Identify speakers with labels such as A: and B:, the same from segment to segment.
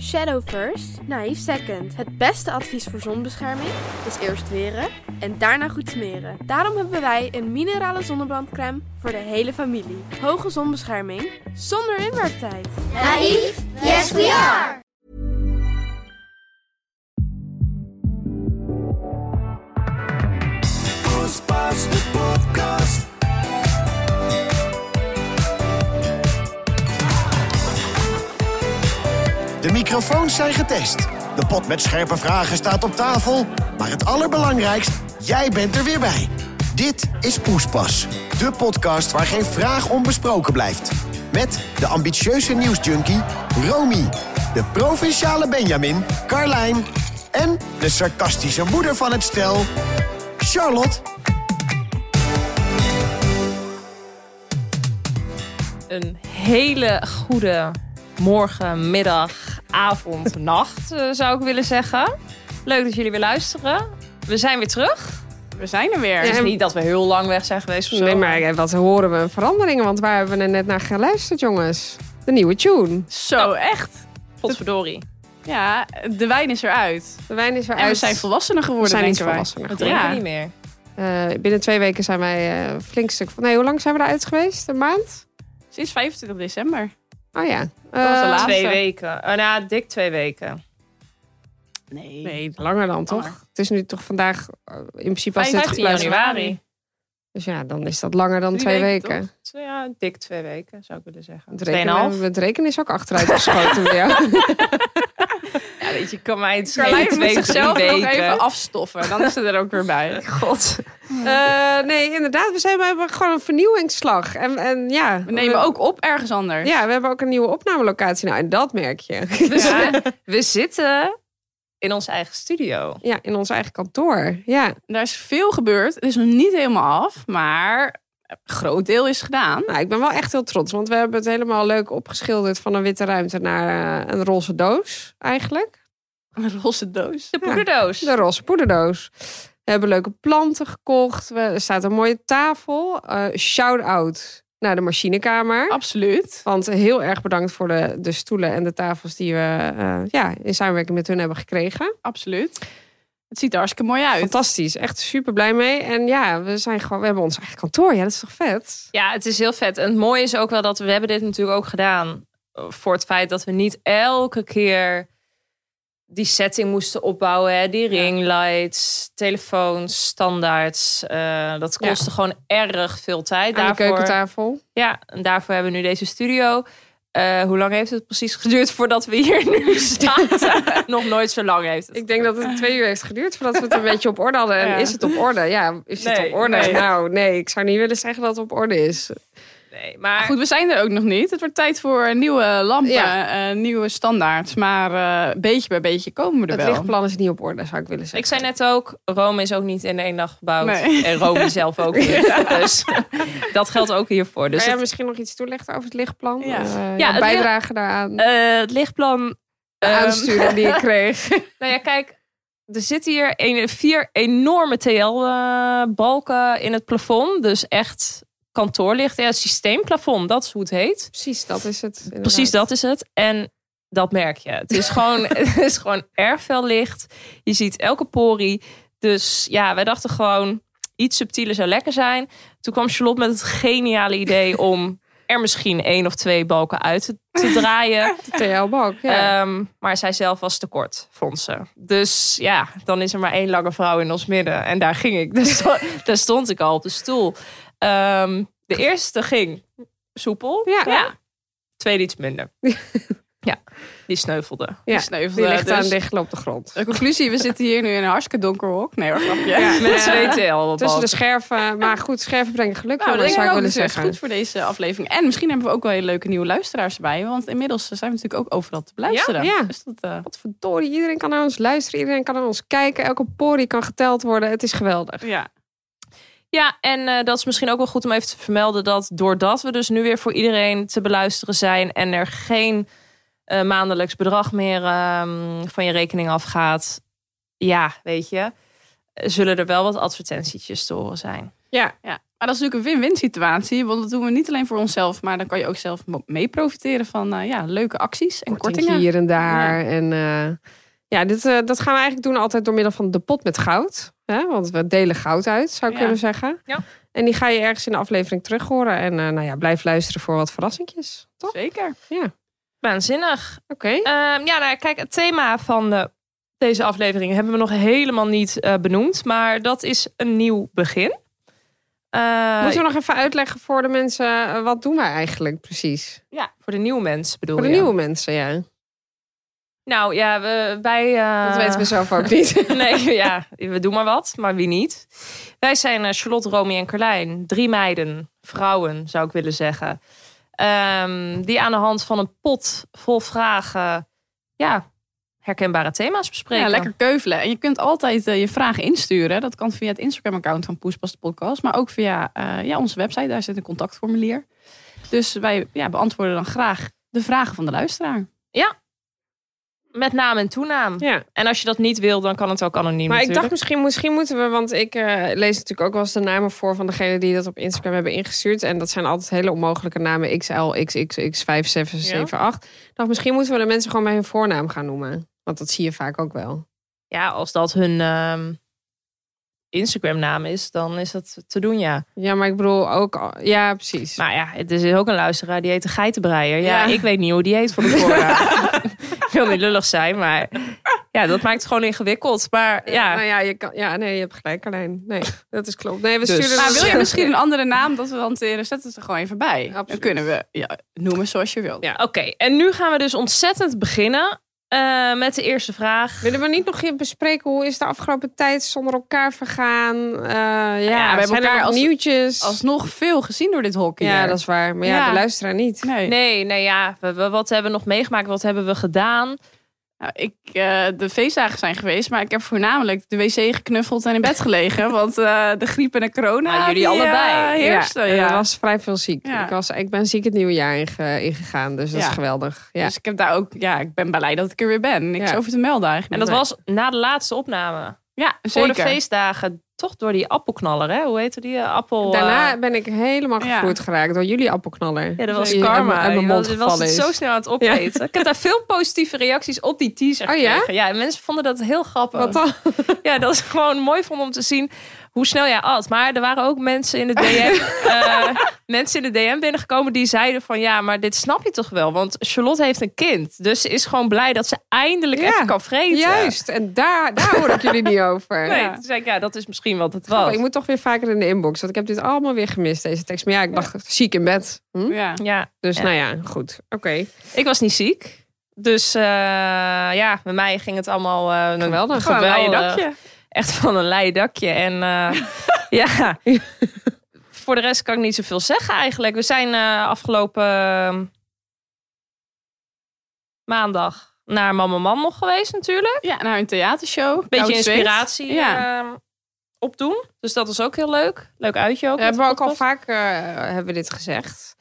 A: Shadow first, naïef second. Het beste advies voor zonbescherming is eerst weren en daarna goed smeren. Daarom hebben wij een minerale zonnebrandcrème voor de hele familie. Hoge zonbescherming zonder inwerktijd.
B: Naïef? Yes, we are!
C: Poespas de podcast. De microfoons zijn getest. De pot met scherpe vragen staat op tafel. Maar het allerbelangrijkst, jij bent er weer bij. Dit is Poespas, de podcast waar geen vraag onbesproken blijft. Met de ambitieuze nieuwsjunkie Romy, de provinciale Benjamin Carlijn en de sarcastische moeder van het stel Charlotte.
D: Een hele goede morgen, middag, avond, nacht eh, zou ik willen zeggen. Leuk dat jullie weer luisteren. We zijn weer terug.
E: We zijn er weer.
D: Het is
F: en-
D: niet dat we heel lang weg zijn geweest of zo.
F: Nee, maar eh, wat horen we? Veranderingen, want waar hebben we net naar geluisterd, jongens? De nieuwe tune.
E: Zo, echt.
D: Potverdorie.
E: Oh. Ja, de wijn is eruit.
F: De wijn is weer
E: En
F: uit.
E: we zijn volwassener
F: We
E: geworden,
F: zijn iets
E: denken wij.
F: volwassener.
D: We
F: geworden.
D: drinken
E: Ja.
D: niet meer.
F: Eh, binnen twee weken zijn wij eh flink stuk van... Nee, hoe lang zijn we eruit geweest? Een maand?
E: Sinds 25 december.
F: Oh ja.
E: was de
F: Eh,
E: laatste.
D: Twee weken. Eh, nou, dik twee weken.
E: Nee.
F: Nee, langer dan toch?
E: Langer.
F: Het is nu toch vandaag... eh, in principe was dit
D: 15
F: geluisterd.
D: januari.
F: Dus ja, dan is dat langer dan
E: Drie
F: twee
E: weken,
F: weken.
D: Twee- Ja, dik twee weken zou ik willen zeggen.
F: Het
D: Tweeënhalf.
F: rekenen, het rekenen is ook achteruit geschoten bij jou.
D: Ja, weet je, kan mij het
E: Carlijn
D: schelen.
E: moet
D: Twee, drie
E: zichzelf nog
D: weken.
E: even afstoffen. Dan is ze er ook weer bij.
F: God. Eh, nee, inderdaad. We, zijn, we hebben gewoon een vernieuwingsslag. En, en ja,
E: We nemen ook op ergens anders.
F: Ja, we hebben ook een nieuwe opnamelocatie. Nou, en dat merk je.
D: We, zi- Dus we zitten in onze eigen studio.
F: Ja, in ons eigen kantoor. Ja,
E: Daar is veel gebeurd. Het is nog niet helemaal af, maar een groot deel is gedaan.
F: nou, ik ben wel echt heel trots. Want we hebben het helemaal leuk opgeschilderd van een witte ruimte naar eh, een roze doos eigenlijk.
E: Een roze doos.
D: De poederdoos.
F: De roze poederdoos. We hebben leuke planten gekocht. We, er staat een mooie tafel. Eh, Shout-out naar de
E: Oh.
F: machinekamer.
E: Absoluut.
F: Want heel erg bedankt voor de, de stoelen en de tafels die we eh, ja, in samenwerking met hun hebben gekregen.
E: Absoluut. Het ziet er hartstikke mooi uit.
F: Fantastisch, echt super blij mee. En ja, we zijn gewoon, we hebben ons eigen kantoor. Ja, dat is toch vet?
D: Ja, het is heel vet. En het mooie is ook wel dat we hebben dit natuurlijk ook gedaan eh, voor het feit dat we niet elke keer die setting moesten opbouwen. Hè? Die ringlights, telefoons, standaards. eh, dat
F: Ja.
D: kostte gewoon erg veel tijd.
F: Aan de keukentafel.
D: ja, en daarvoor hebben we nu deze studio. Eh, hoe lang heeft het precies geduurd voordat we hier nu staan? Nog nooit zo lang heeft het.
F: Ik denk dat het twee uur heeft geduurd voordat we het een beetje op orde hadden. En
E: Ja.
F: is het op orde? Ja, is het
D: Nee,
F: op orde?
D: nee.
F: Nou, nee, ik zou niet willen zeggen dat het op orde is.
D: Nee, maar
E: Goed, we zijn er ook nog niet. Het wordt tijd voor nieuwe lampen,
F: Ja.
E: eh, nieuwe standaards. Maar eh, beetje bij beetje komen we er
F: Het
E: wel.
F: lichtplan is niet op orde, zou ik willen zeggen.
D: Ik zei net ook, Rome is ook niet in één dag gebouwd.
E: Nee.
D: En Rome zelf ook niet. Dus dat geldt ook hiervoor. Dus
F: maar ja,
D: het,
F: misschien nog iets toelichten over het lichtplan.
E: Ja.
F: Eh,
D: Ja,
F: de
D: het
F: bijdrage daaraan.
D: eh, het lichtplan...
F: de
D: ehm,
F: aansturing die ik kreeg.
D: nou ja, kijk. Er zitten hier een- vier enorme TL-balken in het plafond. Dus echt kantoorlicht. Ja, het systeemplafond, dat is hoe het heet.
F: Precies, dat is het. inderdaad.
D: Precies, dat is het. En dat merk je. Het is gewoon, het is gewoon erg veel licht. Je ziet elke porie. Dus ja, wij dachten gewoon iets subtieler zou lekker zijn. Toen kwam Charlotte met het geniale idee om er misschien één of twee balken uit te, te draaien.
F: De TL-balk. Ja.
D: Ehm, maar zij zelf was tekort, vond ze. Dus ja, dan is er maar één lange vrouw in ons midden. En daar ging ik. Dus daar- daar stond ik al op de stoel. Ehm, de eerste ging soepel.
F: Ja.
D: Tweede iets minder. ja, die sneuvelde.
F: ja.
E: sneuvelde,
F: Die ligt
E: dus-
F: aan dicht op de grond.
E: De conclusie, we zitten hier nu in een hartstikke donker hok. Nee hoor, grapje.
D: Met twee TL.
F: Tussen de scherven. Maar goed, scherven brengen geluk.
E: Nou,
F: jongens,
E: dat
F: zou
E: denk
F: ik willen
E: ik ook dus echt
F: zeggen.
E: goed voor deze aflevering. En misschien hebben we ook wel hele leuke nieuwe luisteraars erbij. Want inmiddels zijn we natuurlijk ook overal te beluisteren.
F: Ja, ja.
E: Dus dat, eh,
F: Potverdorie, iedereen kan naar ons luisteren. Iedereen kan naar ons kijken. Elke porie kan geteld worden. Het is geweldig.
E: ja.
D: Ja, en eh, dat is misschien ook wel goed om even te vermelden dat doordat we dus nu weer voor iedereen te beluisteren zijn en er geen eh, maandelijks bedrag meer ehm, van je rekening afgaat, ja, weet je, eh, zullen er wel wat advertentietjes te horen zijn.
F: Ja.
E: Ja. Maar dat is natuurlijk een win-win situatie. Want dat doen we niet alleen voor onszelf. Maar dan kan je ook zelf mo- mee profiteren van eh, ja, leuke acties en
F: korting
E: kortingen.
F: hier en daar. En eh, ja, dit, eh, dat gaan we eigenlijk doen altijd door middel van de pot met goud. Hè? Want we delen goud uit, zou ik
E: Ja.
F: kunnen zeggen.
D: Ja.
F: En die ga je ergens in de aflevering terug horen. En eh, nou ja, blijf luisteren voor wat verrassingjes. Toch?
E: Zeker.
D: Waanzinnig.
F: Oké.
D: Ehm, ja, nou, kijk, het thema van eh, deze aflevering hebben we nog helemaal niet eh, benoemd. Maar dat is een nieuw begin. Eh,
F: Moeten we nog even uitleggen voor de mensen, eh, wat doen wij eigenlijk precies?
D: ja, voor de nieuwe mensen bedoel
F: Voor de
D: je?
F: nieuwe mensen, ja.
D: Nou ja, we, wij... eh,
F: Dat weten we zelf ook niet.
D: Nee, ja, we doen maar wat, maar wie niet. Wij zijn eh, Charlotte, Romy en Carlijn. Drie meiden, vrouwen zou ik willen zeggen. Ehm, die aan de hand van een pot vol vragen... Ja, herkenbare thema's bespreken.
E: Ja, lekker keuvelen. En je kunt altijd eh, je vragen insturen. Dat kan via het Instagram-account van Poespas de Podcast. Maar ook via eh, ja, onze website. Daar zit een contactformulier. Dus wij ja, beantwoorden dan graag de vragen van de luisteraar.
D: Met naam en toenaam.
F: ja.
D: En als je dat niet wil, dan kan het ook anoniem.
F: Maar ik dacht
D: natuurlijk.
F: misschien, misschien moeten we, want ik eh, lees natuurlijk ook wel eens de namen voor van degenen die dat op Instagram hebben ingestuurd. En dat zijn altijd hele onmogelijke namen: XL, XXX, 5778. Ik dacht, misschien moeten we de mensen gewoon bij hun voornaam gaan noemen. Want dat zie je vaak ook wel.
D: ja, als dat hun ehm Instagram-naam is, dan is dat te doen, ja.
F: Ja, maar ik bedoel ook, al- ja, precies.
D: Maar ja, het is ook een luisteraar die heet de geitenbreier. Ja,
E: Ja.
D: ik weet niet hoe die heet van de voorraad. ik wil niet lullig zijn, maar ja, dat maakt het gewoon ingewikkeld. Maar ja,
F: Nou ja, je kan, ja, nee, je hebt gelijk, alleen. Nee, dat is klopt. Nee, we
D: Dus.
F: sturen
E: Maar
F: dat-
E: wil je misschien een andere naam dat we hanteren? Zet het er gewoon even bij. Dan
F: Absoluut.
E: kunnen we ja, noemen zoals je wilt.
F: Ja.
D: oké. En nu gaan we dus ontzettend beginnen eh, met de eerste vraag.
F: Willen we niet nog even bespreken hoe is de afgelopen tijd zonder elkaar vergaan? Eh, ja, we hebben elkaar
E: als-
F: nieuwtjes.
E: Alsnog veel gezien door dit hockey.
F: ja, dat is waar. Maar ja,
E: Ja.
F: de luisteraar niet.
E: Nee.
D: Nee, nee, ja, we- we- wat hebben we nog meegemaakt? Wat hebben we gedaan?
E: Nou, ik, eh, de feestdagen zijn geweest, maar ik heb voornamelijk de wc geknuffeld en in bed gelegen. Want eh, de griep en de corona.
D: Ah, jullie
E: die, eh,
D: allebei.
E: heersten,
F: en
E: ja.
F: Er was vrij veel ziek.
E: Ja.
F: Ik, was, ik ben ziek het nieuwe jaar inge- ingegaan, dus dat
E: Ja.
F: is geweldig. Ja.
E: Dus ik heb daar ook, ja, ik ben blij dat ik er weer ben. Niks
F: Ja.
E: over te melden
D: En
E: eigenlijk.
D: dat was na de laatste opname.
E: ja, zeker.
D: Voor de feestdagen toch door die appelknaller, hè? Hoe heette die? eh, Appel. eh,
F: Daarna ben ik helemaal
E: Ja.
F: gegroeid geraakt door jullie appelknaller.
D: ja, dat was
F: Die
D: karma.
F: Uit, mijn- uit mijn
D: Je
F: mond
D: was, was
F: gevallen
D: het
F: is.
D: zo snel aan het opeten. Ik heb daar veel positieve reacties op die teaser
F: Oh ja?
D: gekregen. Ja, en mensen vonden dat heel grappig.
F: Wat dan?
D: Ja, dat is gewoon mooi vond om te zien hoe snel jij at. Maar er waren ook mensen in de DM, eh, mensen in de DM binnengekomen die zeiden van ja, maar dit snap je toch wel? Want Charlotte heeft een kind, dus ze is gewoon blij dat ze eindelijk
F: Ja,
D: even kan vreten.
F: Juist, en daar, daar hoor ik jullie niet over.
D: Nee,
F: Ja.
D: toen zei ik, ja, dat is misschien wat het
F: Grappig,
D: was.
F: ik moet toch weer vaker in de inbox, want ik heb dit allemaal weer gemist, deze tekst. Maar ja, ik lag ziek in bed. Hm?
E: Ja.
D: Ja,
F: Dus
D: Ja.
F: nou ja, goed. Oké,
D: Ik was niet ziek. Dus eh, ja, bij mij ging het allemaal eh
F: Geweldig.
E: Gewoon een leien
D: geweldig.
E: dakje.
D: Echt van een lei dakje. En eh, ja, voor de rest kan ik niet zoveel zeggen eigenlijk. We zijn eh, afgelopen eh, maandag naar Mama Mam nog geweest natuurlijk.
E: Ja, naar een theatershow.
D: Beetje
E: Koud zweet.
D: inspiratie
E: Ja.
D: eh, opdoen. Dus dat was ook heel leuk. Leuk uitje ook.
F: We
D: met
F: hebben
D: de
F: ook al
D: podcast.
F: vaak eh, hebben we dit gezegd.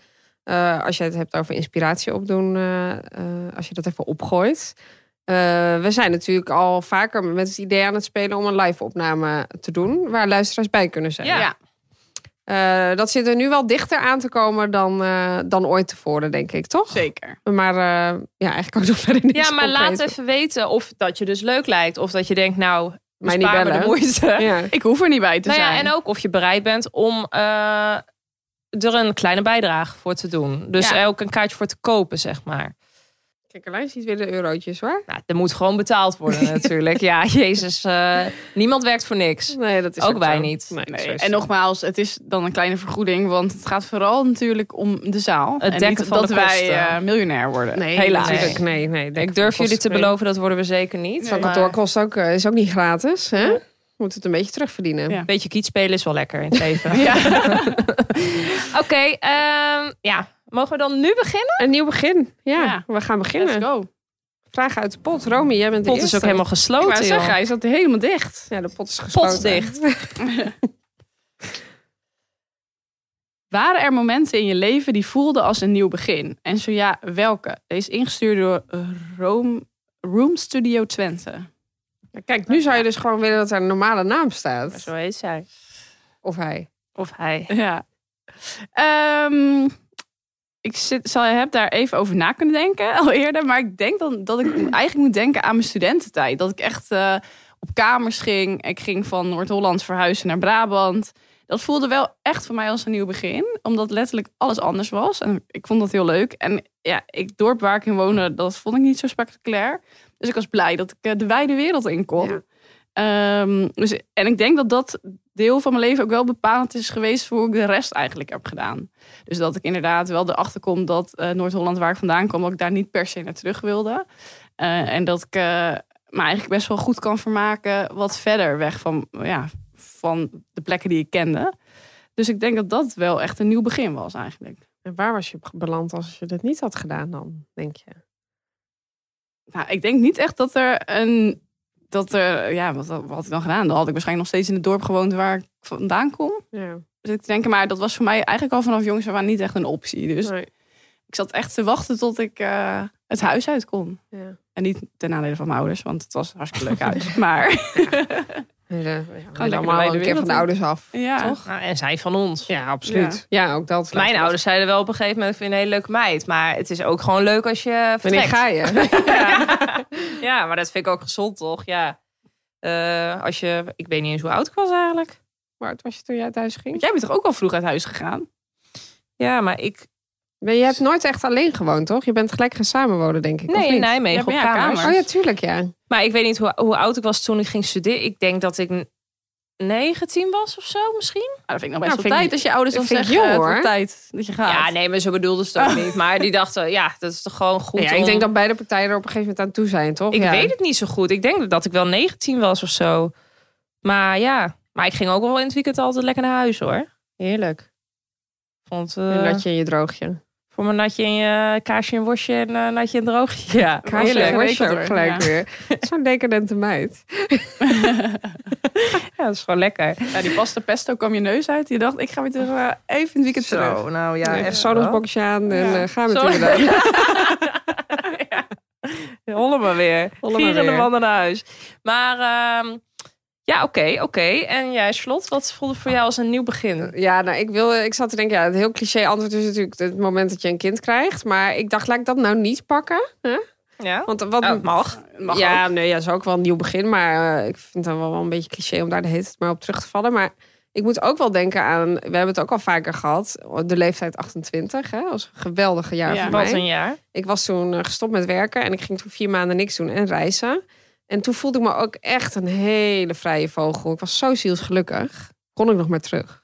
F: Eh, als je het hebt over inspiratie opdoen, eh, eh, als je dat even opgooit. Eh, we zijn natuurlijk al vaker met het idee aan het spelen om een live opname te doen, waar luisteraars bij kunnen zijn.
D: Ja.
E: Ja.
F: Eh, dat zit er nu wel dichter aan te komen dan, eh, dan ooit tevoren, denk ik, toch?
E: Zeker.
F: Maar eh, ja, eigenlijk ook nog verder niet.
D: Ja, maar laat even weten of dat je dus leuk lijkt. Of dat je denkt, nou,
F: Mij
D: maar
F: niet
D: niet me de
F: bellen.
D: moeite.
F: Ja.
E: Ik hoef er niet bij te
D: Nou
E: zijn.
D: ja, en ook of je bereid bent om eh, er een kleine bijdrage voor te doen. Dus
E: Ja.
D: ook een kaartje voor te kopen, zeg maar.
F: Kijk, Alain ziet weer de eurotjes, hoor.
D: Nou, er moet gewoon betaald worden natuurlijk. Ja, jezus. eh, niemand werkt voor niks.
F: Nee, dat is
D: Ook wij
F: zo.
D: niet.
E: Nee,
F: zo is
E: En
F: het.
E: nogmaals, het is dan een kleine vergoeding, want het gaat vooral natuurlijk om de zaal. en niet
D: dekken van
E: dat
D: de
E: wij
D: kosten.
E: eh, miljonair worden.
F: Nee,
D: Helaas.
F: natuurlijk. Nee, nee. denk
D: Ik durf
F: van
D: jullie te
F: kosten-
D: beloven, dat worden we zeker niet.
F: Zo'n
D: Maar
F: kantoor kost ook, eh, is ook niet gratis. Hè? Moet het een beetje terugverdienen.
E: Ja.
D: Een beetje kiet spelen is wel lekker in het leven.
E: Ja.
D: Oké, ehm, ja. Mogen we dan nu beginnen?
F: Een nieuw begin. Ja,
E: Ja.
F: we gaan beginnen.
E: Let's go.
F: Vraag uit de pot. Romy, jij bent
D: De
F: de
D: pot is
F: eerste.
D: ook helemaal
E: Ik wou
D: gesloten,
E: zeggen,
D: joh.
E: hij zat helemaal dicht.
F: Ja, de pot is gesloten.
D: Pot dicht.
E: Waren er momenten in je leven die voelden als een nieuw begin? En zo ja, welke? Deze is ingestuurd door eh, Rome, Room Studio Twente.
F: Nou, Kijk, nu zou je dus gewoon willen dat er een normale naam staat.
D: Zo heet zij.
F: Of hij.
D: Of hij.
E: Ja. Ehm, ik zit, zal, heb daar even over na kunnen denken al eerder. Maar ik denk dan, dat ik eigenlijk moet denken aan mijn studententijd. Dat ik echt eh, op kamers ging. Ik ging van Noord-Holland verhuizen naar Brabant. Dat voelde wel echt voor mij als een nieuw begin. Omdat letterlijk alles anders was. En ik vond dat heel leuk. En ja, ik, het dorp waar ik in woonde, dat vond ik niet zo spectaculair. Dus ik was blij dat ik eh, de wijde wereld in kon. Ehm, dus, en ik denk dat dat deel van mijn leven ook wel bepalend is geweest voor hoe ik de rest eigenlijk heb gedaan. Dus dat ik inderdaad wel erachter kom dat eh, Noord-Holland, waar ik vandaan kwam, dat ik daar niet per se naar terug wilde. Eh, en dat ik eh, me eigenlijk best wel goed kan vermaken wat verder weg van, ja, van de plekken die ik kende. Dus ik denk dat dat wel echt een nieuw begin was eigenlijk.
F: En waar was je beland als je dat niet had gedaan dan, denk je?
E: Nou, ik denk niet echt dat er een. Dat er, ja, wat, wat had ik dan gedaan? Dan had ik waarschijnlijk nog steeds in het dorp gewoond waar ik vandaan kom.
F: Ja.
E: Dus ik denk, maar dat was voor mij eigenlijk al vanaf jongs af aan niet echt een optie. Dus
F: Nee.
E: ik zat echt te wachten tot ik eh, het huis uit kon.
F: Ja.
E: En niet ten nadele van mijn ouders, want het was een hartstikke leuk huis. Maar
F: Ja, ja, we willen
E: Oh, de
F: allemaal
E: wijde
F: een keer van
E: wereld
F: de
E: in.
F: ouders af.
E: ja,
F: Toch?
D: Nou, en zij van ons.
F: Ja, absoluut. Ja, ook dat.
D: Mijn ouders zeiden wel op een gegeven moment: ik vind je een hele leuke meid. Maar het is ook gewoon leuk als je.
F: Wanneer
D: vertrekt.
F: ga je?
D: ja. ja, maar dat vind ik ook gezond, toch? Ja. Eh, als je, ik weet niet eens hoe oud ik was eigenlijk.
F: Maar het was je toen jij thuis
E: want
F: ging?
E: jij bent toch ook al vroeg uit huis gegaan? Nou,
D: Ja, maar ik.
F: Maar je hebt nooit echt alleen gewoond, toch? Je bent gelijk gaan samenwonen, denk ik.
D: Nee,
F: of
D: in
F: niet?
D: Nijmegen.
E: Ja, maar
D: op
E: ja,
D: kamers.
E: kamer.
F: Oh ja, tuurlijk, ja.
D: Maar ik weet niet hoe, hoe oud ik was toen ik ging studeren. Ik denk dat ik n- 19 was of zo misschien.
E: Nou, dat vind ik nog best
F: Nou, vind
E: wel
F: ik-
E: tijd als je ouders dan
F: vind ik
E: zeggen,
F: jong,
E: eh, het wordt
F: hoor.
E: tijd dat je gaat.
D: Ja, nee, maar zo bedoelden ze het ook niet. Maar die dachten, ja, dat is toch gewoon goed.
F: ja ik
D: om-
F: denk dat beide partijen er op een gegeven moment aan toe zijn, toch?
D: Ik
F: ja.
D: weet het niet zo goed. Ik denk dat ik wel 19 was of zo. Maar ja, maar ik ging ook wel in het weekend altijd lekker naar huis hoor.
F: Heerlijk.
D: Vond
F: Een
D: eh,
F: natje in je droogje.
D: voor mijn natje en je kaasje en worstje en eh, natje en droogje. Ja,
F: Kaasje en
E: heerlijk.
F: worstje ook
E: Ja.
F: gelijk weer. Zo'n decadente meid.
D: Ja, dat is gewoon lekker.
E: Ja, Nou, die pasta pesto kwam je neus uit. Je dacht, ik ga weer terug, eh, even een weekend terug.
D: nou
F: Ja, even zo'n bokje aan en
E: Ja.
F: eh, gaan we
D: Zo.
F: toen dan.
D: Hollen maar weer.
F: Hollen maar
D: Gierende
F: weer.
D: mannen naar huis. Maar ehm, ja, oké, oké. En jij, Slot, wat voelde voor jou als een nieuw begin?
F: Ja, nou, ik, wil, ik zat te denken, ja, het heel cliché antwoord is natuurlijk het moment dat je een kind krijgt. Maar ik dacht, laat ik dat nou niet pakken.
D: Ja,
F: Want wat,
D: dat mag.
E: Mag ook.
F: ja, nee, ja, is ook wel een nieuw begin. Maar eh, ik vind het wel, wel een beetje cliché om daar de hele tijd maar op terug te vallen. Maar ik moet ook wel denken aan, we hebben het ook al vaker gehad, de leeftijd 28. Hè? Dat was een geweldige jaar
E: Ja.
F: voor
D: Wat
F: mij.
D: een jaar.
F: Ik was toen eh, gestopt met werken en ik ging toen vier maanden niks doen en reizen. En toen voelde ik me ook echt een hele vrije vogel. Ik was zo zielsgelukkig. Kon ik nog maar terug.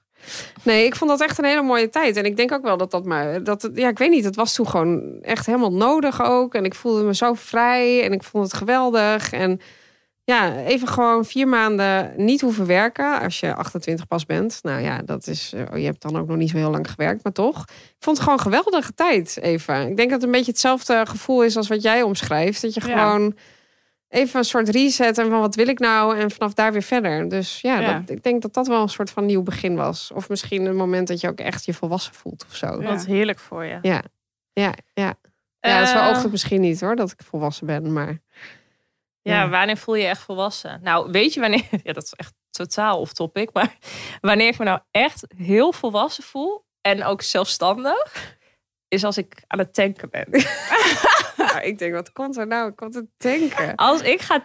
F: Nee, ik vond dat echt een hele mooie tijd. En ik denk ook wel dat dat maar... Dat, het- ja, ik weet niet. Het was toen gewoon echt helemaal nodig ook. En ik voelde me zo vrij. En ik vond het geweldig. En ja, even gewoon vier maanden niet hoeven werken. Als je 28 pas bent. Nou ja, dat is... eh, Je hebt dan ook nog niet zo heel lang gewerkt, maar toch. Ik vond het gewoon een geweldige tijd, Eva. Ik denk dat het een beetje hetzelfde gevoel is als wat jij omschrijft. Dat je
E: Ja.
F: gewoon even een soort reset en van wat wil ik nou en vanaf daar weer verder. Dus ja,
E: Ja.
F: Dat, ik denk dat dat wel een soort van nieuw begin was. Of misschien een moment dat je ook echt je volwassen voelt of zo. Ja,
E: Ja.
D: Wat heerlijk voor je.
F: ja, ja. ja. dat is wel
D: Eh,
F: oogt het misschien niet hoor, dat ik volwassen ben, maar
D: Ja,
F: Ja.
D: wanneer voel je je echt volwassen? Nou, weet je wanneer... Ja, dat is echt totaal off-topic. Maar wanneer ik me nou echt heel volwassen voel... en ook zelfstandig... is als ik aan het tanken ben.
F: Ja, ik denk, wat komt er nou? Ik komt het denken.
D: Als ik ga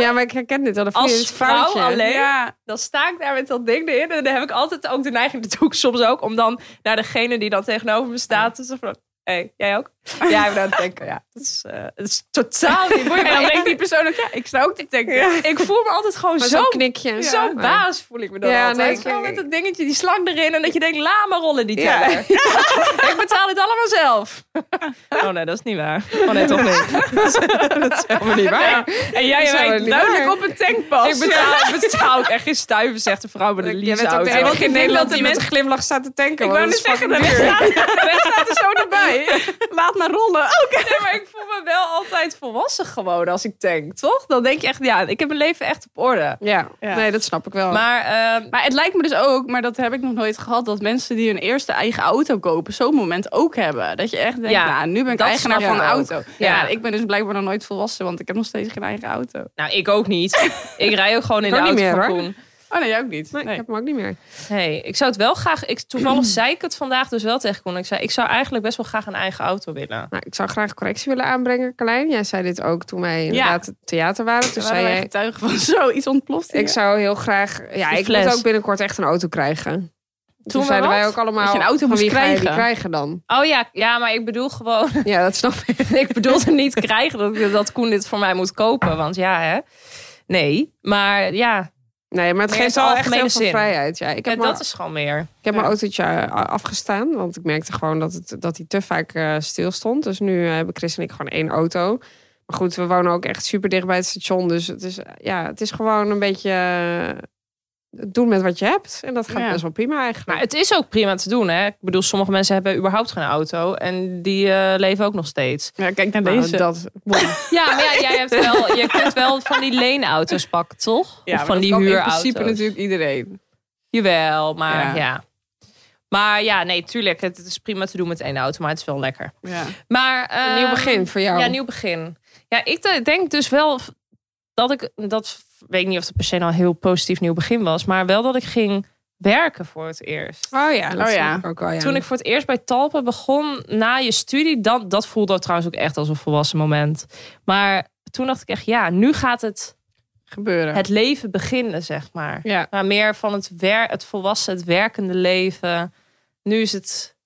F: Ja, maar ik herken dit wel. Dat vind je
D: Als
F: dus
D: vrouw
F: foutje.
D: alleen?
E: Ja.
D: dan sta ik daar met dat ding erin. En dan heb ik altijd ook de neiging, dat doe ik soms ook... om dan naar degene die dan tegenover me staat... te zeggen van, hé, hey, jij ook? Ja, ik ben aan het tanken, ja. Dat is, eh, dat is totaal niet moeilijk.
E: En dan
D: Maar
E: denkt
D: ik,
E: die persoon ook, ja, ik sta ook te denken.
D: ik voel me altijd gewoon
F: Maar
D: zo
F: zo'n knikje. en
D: Zo'n baas voel ik me dan
F: Ja, nee,
D: altijd.
F: ik-
D: Gewoon met dat dingetje, die slang erin. En dat je denkt, laat maar rollen die
F: Ja.
D: teller. ik betaal het allemaal zelf. oh nee, dat is niet waar. Oh nee, toch niet.
F: Dat is helemaal niet waar.
D: En jij
F: is wel
D: rijdt
F: niet
D: duidelijk
F: waar.
D: op een tankpas. Ik betaal, ik betaal ook echt geen stuiver, zegt de vrouw met een
F: Je bent ook de
D: leaseauto.
F: enige in Nederland die
D: die
F: met een glimlach staat te tanken.
D: Ik
F: want
D: wou net
F: dat is
D: zeggen,
F: fucking
D: daar
F: duur.
D: staat, daar staat er zo erbij.
E: Laat maar rollen.
D: Nee, maar ik voel me wel altijd volwassen gewoon als ik tank, toch? Dan denk je echt, ja, ik heb mijn leven echt op orde.
F: Ja.
E: Ja.
F: nee, dat snap ik wel.
D: Maar ehm,
E: Maar het lijkt me dus ook, maar dat heb ik nog nooit gehad, dat mensen die hun eerste eigen auto kopen, zo'n moment ook hebben. Dat je echt denkt,
D: Ja,
E: nou, nu ben ik
D: dat
E: eigenaar
D: snap
E: van
D: ik
E: een
D: ook.
E: auto.
D: Ja.
E: Ja. ik ben dus blijkbaar nog nooit volwassen, want ik heb nog steeds geen eigen auto.
D: Nou, ik ook niet. Ik rij ook gewoon in
F: Kan
D: de
F: niet
D: auto
F: meer,
D: van
F: hoor.
D: Koen.
E: Oh nee, jij ook niet.
F: Nee,
E: Nee.
F: ik heb hem ook niet meer.
D: Nee, ik zou het wel graag... Ik, toevallig zei ik het vandaag dus wel tegen Con. Ik zei, ik zou eigenlijk best wel graag een eigen auto willen.
F: Nou, ik zou graag correctie willen aanbrengen, Carlijn. Jij zei dit ook toen wij inderdaad het theater waren. Toen
E: Toen
F: Dus zei
E: waren wij
F: jij,
E: getuigen van zoiets ontploft hier.
F: ik zou heel graag... Ja,
D: Die
F: ik moet
D: fles.
F: ook binnenkort echt een auto krijgen. Toen,
D: we
F: zeiden wij
D: wat?
F: ook allemaal,
E: Dat je een auto
F: van
E: moest
F: wie ga je die
E: krijgen.
F: krijgen dan?
D: Oh ja, ja, maar ik bedoel gewoon...
F: Ja, dat snap ik.
D: ik bedoelde niet krijgen dat, ik- dat Koen dit voor mij moet kopen. Want ja, hè. Nee, maar ja,
F: Nee, maar het
D: Maar
F: geeft
D: in het
F: al echt heel
D: algemene
F: veel
D: zin.
F: vrijheid. Ja, ik
D: ja,
F: heb maar
D: dat is gewoon meer.
F: Ik heb mijn autootje eh, afgestaan, want ik merkte gewoon dat, het, dat hij te vaak eh, stil stond. Dus nu eh, hebben Chris en ik gewoon één auto. Maar goed, we wonen ook echt super dicht bij het station. Dus het is, eh, ja, het is gewoon een beetje eh, het doen met wat je hebt. En dat gaat
E: Ja.
F: best wel prima
D: Maar
F: eigenlijk.
D: het is ook prima te doen, hè. Ik bedoel, sommige mensen hebben überhaupt geen auto. En die eh, leven ook nog steeds.
E: Ja, kijk naar
F: Nou,
E: deze.
F: dat,
D: Ja, maar ja, jij hebt wel, je kunt wel van die leenauto's pakken, toch?
E: Ja,
D: of
E: maar
D: van
E: dat
D: die
E: kan
D: huurauto's.
E: In principe natuurlijk iedereen.
D: Jawel, maar ja.
E: Ja.
D: Maar ja, nee, tuurlijk. Het, het is prima te doen met één auto, maar het is wel lekker.
E: Ja.
D: Maar,
F: een nieuw
D: ehm,
F: begin voor jou.
D: Ja, nieuw begin. Ja, ik de- denk dus wel v- dat ik dat weet ik niet of het per se nou een heel positief nieuw begin was, maar wel dat ik ging werken voor het eerst.
F: Oh ja, dat
E: Oh
F: zie
E: ja.
F: ik ook al. Ja.
D: Toen ik voor het eerst bij Talpa begon na je studie, dan, dat voelde trouwens ook echt als een volwassen moment. Maar toen dacht ik echt, ja, nu gaat het,
E: Gebeuren.
D: het leven beginnen, zeg maar.
F: Ja.
D: Maar meer van het, wer het volwassen, het werkende leven. Nu is het,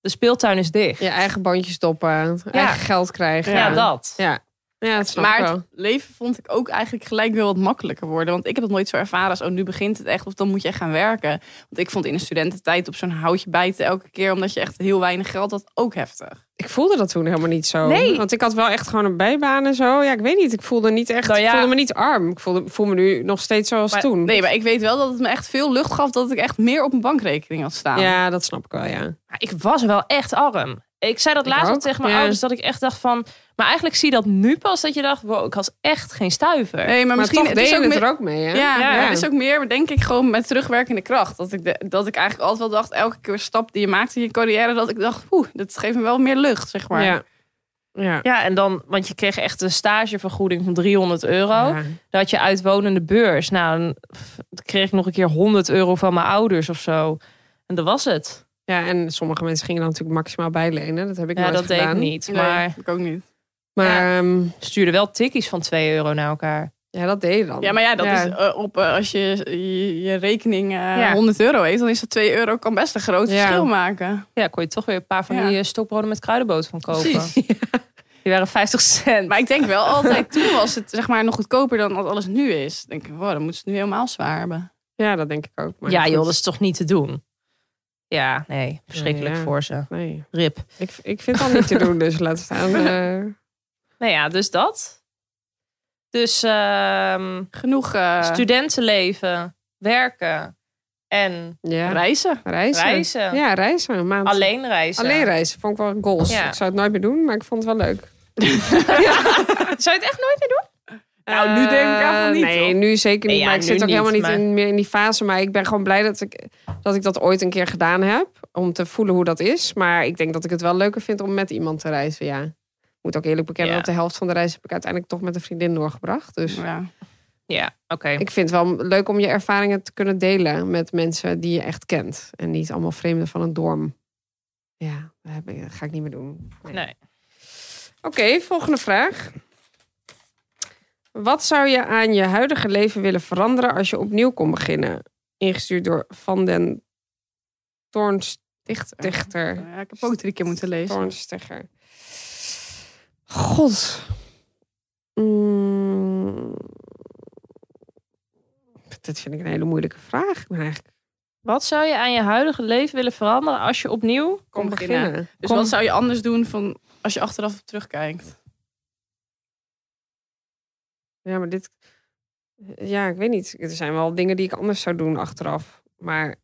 D: de speeltuin is dicht.
F: Je eigen bandjes stoppen, eigen geld krijgen.
D: Ja, dat.
F: Ja, ja dat snap
E: maar
F: ik wel.
E: het leven vond ik ook eigenlijk gelijk wel wat makkelijker worden. Want ik heb het nooit zo ervaren als, oh, nu begint het echt. Of dan moet je echt gaan werken. Want ik vond in de studententijd op zo'n houtje bijten elke keer... omdat je echt heel weinig geld had, ook heftig.
F: Ik voelde dat toen helemaal niet zo.
D: Nee.
F: Want ik had wel echt gewoon een bijbaan en zo. Ja, ik weet niet. Ik voelde niet echt.
D: Nou ja.
F: Ik voelde me niet arm. Ik voelde, voel me nu nog steeds zoals
D: Maar-
F: toen.
E: Nee, maar ik weet wel dat het me echt veel lucht gaf... dat ik echt meer op mijn bankrekening had staan.
F: Ja, dat snap ik wel. Ja.
D: Maar ik was wel echt arm. Ik zei dat
F: Ik
D: laatst ook
F: ook,
D: tegen mijn
F: ja.
D: ouders, dat ik echt dacht van... Maar eigenlijk zie je dat nu pas, dat je dacht, wow, ik had echt geen stuiver.
E: Nee, maar,
F: Maar
E: misschien
F: toch
E: het is
F: deden
E: ook
F: het
E: meer-
F: er ook mee. Hè?
E: Ja,
D: Ja.
E: maar het is ook meer, denk ik, gewoon met terugwerkende kracht. Dat ik, de- dat ik eigenlijk altijd wel dacht, elke keer stap die je maakt in je carrière... dat ik dacht, oeh, dat geeft me wel meer lucht, zeg maar.
F: Ja. Ja.
D: Ja, en dan, want je kreeg echt een stagevergoeding van 300 euro.
F: Ja.
D: Dat had je uitwonende beurs. Nou, dan pff, kreeg ik nog een keer 100 euro van mijn ouders of zo. En dat was het.
F: Ja, en sommige mensen gingen dan natuurlijk maximaal bijlenen. Dat heb ik
D: Ja,
F: nooit
D: dat deed ik
F: gedaan.
D: niet.
E: Nee,
D: Maar
E: ik ook niet.
F: Maar ehm,
D: stuurde wel tikkies van 2 euro naar elkaar.
F: ja, dat deed je dan.
E: Ja, maar ja, dat
F: Ja.
E: is eh, op eh, als je je, je rekening eh,
D: Ja.
E: 100 euro heeft, dan is dat 2 euro kan best een groot
F: Ja.
E: verschil maken.
D: Ja, kon je toch weer een paar van
E: Ja.
D: die eh, stokbroden met kruidenboot van kopen.
E: Precies.
D: Die waren 50 cent.
E: Maar ik denk wel altijd, toen was het zeg maar nog goedkoper dan dat alles nu is. Dan denk ik, wow, dan moeten ze het nu helemaal zwaar hebben.
F: Ja, dat denk ik ook. Maar
D: ja
F: goed.
D: joh, dat is toch niet te doen? Ja, nee. Verschrikkelijk
F: ja.
D: voor ze.
F: Nee,
D: Rip.
F: ik, ik vind dat niet te doen, dus laat staan. eh,
D: Nou ja, dus dat. Dus ehm,
E: Genoeg eh,
D: studentenleven, werken en
F: ja,
E: reizen.
F: reizen.
D: reizen.
F: Ja, reizen. Een maand.
D: Alleen reizen.
E: eh,
F: Alleen reizen vond ik wel een goals.
D: Ja.
F: Ik zou het nooit meer doen, maar ik vond het wel leuk.
D: Zou je het echt nooit meer doen?
E: Nou, nu denk ik eigenlijk niet,
F: Eh, Nee,
E: hoor.
F: nu zeker niet.
D: Nee, ja,
F: maar ik
D: nu
F: zit ook
D: niet,
F: helemaal niet
D: maar-
F: in, meer in die fase. Maar ik ben gewoon blij dat ik, dat ik dat ooit een keer gedaan heb. Om te voelen hoe dat is. Maar ik denk dat ik het wel leuker vind om met iemand te reizen. Ja. Ik moet ook eerlijk bekennen
D: Ja.
F: dat de helft van de reis heb ik uiteindelijk toch met een vriendin doorgebracht. Dus
E: Ja.
D: Ja, oké.
F: ik vind het wel leuk om je ervaringen te kunnen delen met mensen die je echt kent. En niet allemaal vreemden van een dorm. Ja, dat heb ik- dat ga ik niet meer doen.
D: Nee.
F: Oké, volgende vraag. Wat zou je aan je huidige leven willen veranderen als je opnieuw kon beginnen? Ingestuurd door Van den
E: Dichter.
F: Toornstichter.
E: Ja, ik heb ook drie keer moeten lezen.
F: Toornstichter. God. Mm. Dit vind ik een hele moeilijke vraag. Ik ben eigenlijk
D: Wat zou je aan je huidige leven willen veranderen als je opnieuw...
F: kon
E: beginnen.
F: beginnen.
E: Dus
D: Kom.
E: wat zou je anders doen van als je achteraf op terugkijkt?
F: Ja, maar dit. Ja, ik weet niet. Er zijn wel dingen die ik anders zou doen achteraf. Maar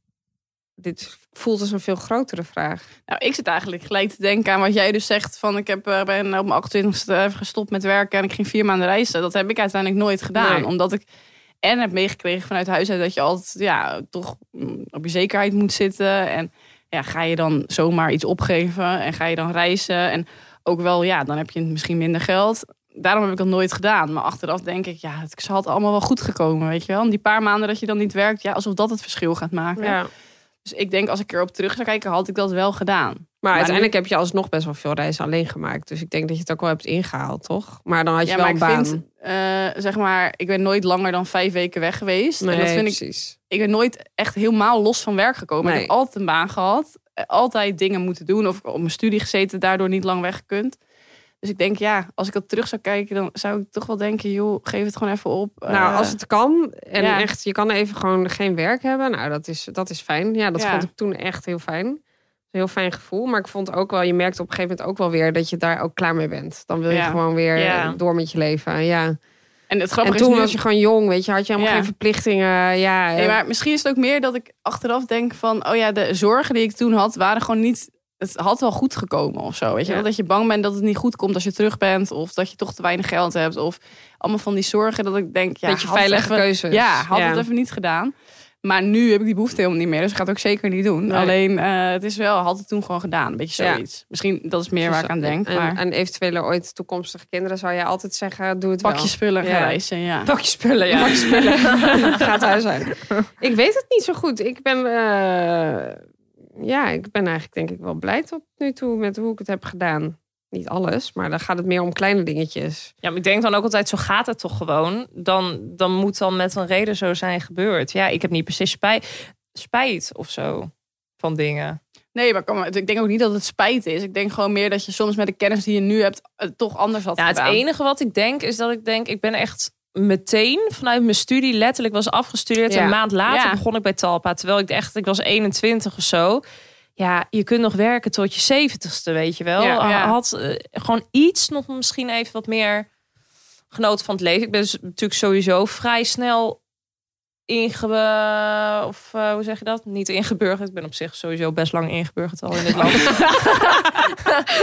F: dit voelt als een veel grotere vraag.
E: Nou, ik zit eigenlijk gelijk te denken aan wat jij dus zegt. Van ik heb, eh, ben op mijn 28ste even gestopt met werken en ik ging vier maanden reizen. Dat heb ik uiteindelijk nooit gedaan.
F: Nee.
E: Omdat ik en heb meegekregen vanuit huis uit dat je altijd ja, toch mm, op je zekerheid moet zitten. En ja, ga je dan zomaar iets opgeven en ga je dan reizen. En ook wel, ja, dan heb je misschien minder geld. daarom heb ik dat nooit gedaan. Maar achteraf denk ik, ja, het had allemaal wel goed gekomen, weet je wel. En die paar maanden dat je dan niet werkt, ja, alsof dat het verschil gaat maken.
F: Ja.
E: Dus ik denk, als ik erop terug zou kijken, had ik dat wel gedaan.
F: Maar,
E: Maar
F: uiteindelijk heb je alsnog best wel veel reizen alleen gemaakt. Dus ik denk dat je het ook wel hebt ingehaald, toch? Maar dan had je
E: ja,
F: wel
E: maar
F: een
E: ik
F: baan.
E: vind, eh, zeg maar, ik ben nooit langer dan vijf weken weg geweest.
F: nee,
E: en dat vind ik
F: precies.
E: ik ben nooit echt helemaal los van werk gekomen.
F: Nee.
E: Ik heb altijd een baan gehad. eh, Altijd dingen moeten doen. Of op mijn studie gezeten, daardoor niet lang weg kunt. Dus ik denk, ja, als ik dat terug zou kijken, dan zou ik toch wel denken, joh, geef het gewoon even op.
F: nou,
E: Eh,
F: als het kan. En
E: ja.
F: echt, je kan even gewoon geen werk hebben. Nou, dat is, dat is fijn. Ja, dat
E: Ja.
F: vond ik toen echt heel fijn. Een heel fijn gevoel. Maar ik vond ook wel, je merkt op een gegeven moment ook wel weer dat je daar ook klaar mee bent. Dan wil je
E: Ja.
F: gewoon weer
D: Ja.
F: eh, door met je leven. Ja.
E: en het
F: En
E: grappige
F: toen
E: is nu-
F: was je gewoon jong, weet je, had je helemaal
E: Ja.
F: geen verplichtingen. Ja,
E: Nee, maar misschien is het ook meer dat ik achteraf denk van, oh ja, de zorgen die ik toen had, waren gewoon niet... Het had wel goed gekomen of zo, weet je
F: Ja.
E: wel? Dat je bang bent dat het niet goed komt als je terug bent. Of dat je toch te weinig geld hebt. Of allemaal van die zorgen dat ik denk, ja,
F: beetje
E: had het
F: veilige
E: even-
F: keuzes.
E: Ja, had
F: Ja.
E: het even niet gedaan. Maar nu heb ik die behoefte helemaal niet meer. Dus ik ga het ook zeker niet doen.
F: Nee.
E: Alleen, eh, het is wel, had het toen gewoon gedaan. Een beetje
F: Ja.
E: zoiets. Misschien, dat is meer waar ik aan denk.
F: En,
E: maar
F: en eventuele ooit toekomstige kinderen zou jij altijd zeggen, doe het
E: pak
F: wel.
E: je spullen,
F: Ja.
E: ga reizen, ja.
D: Pak je spullen, ja.
F: Ga thuis zijn. Ik weet het niet zo goed. Ik ben, eh, ja, ik ben eigenlijk denk ik wel blij tot nu toe met hoe ik het heb gedaan. Niet alles, maar dan gaat het meer om kleine dingetjes.
D: Ja, maar ik denk dan ook altijd, zo gaat het toch gewoon. Dan, dan moet dan met een reden zo zijn gebeurd. Ja, ik heb niet precies spijt, spijt of zo van dingen.
E: Nee, maar kom maar, ik denk ook niet dat het spijt is. Ik denk gewoon meer dat je soms met de kennis die je nu hebt... het toch anders had
D: Ja, het
E: gedaan.
D: enige wat ik denk is dat ik denk, ik ben echt meteen vanuit mijn studie letterlijk was afgestudeerd.
F: Ja.
D: Een maand later
E: Ja.
D: begon ik bij Talpa. Terwijl ik echt, ik was 21 of zo. Ja, je kunt nog werken tot je 70ste, weet je wel.
E: Ja, ja.
D: Had eh, gewoon iets nog misschien even wat meer genoten van het leven. Ik ben dus natuurlijk sowieso vrij snel inge... Of eh, hoe zeg je dat? Niet ingeburgerd. Ik ben op zich sowieso best lang ingeburgerd al in dit land.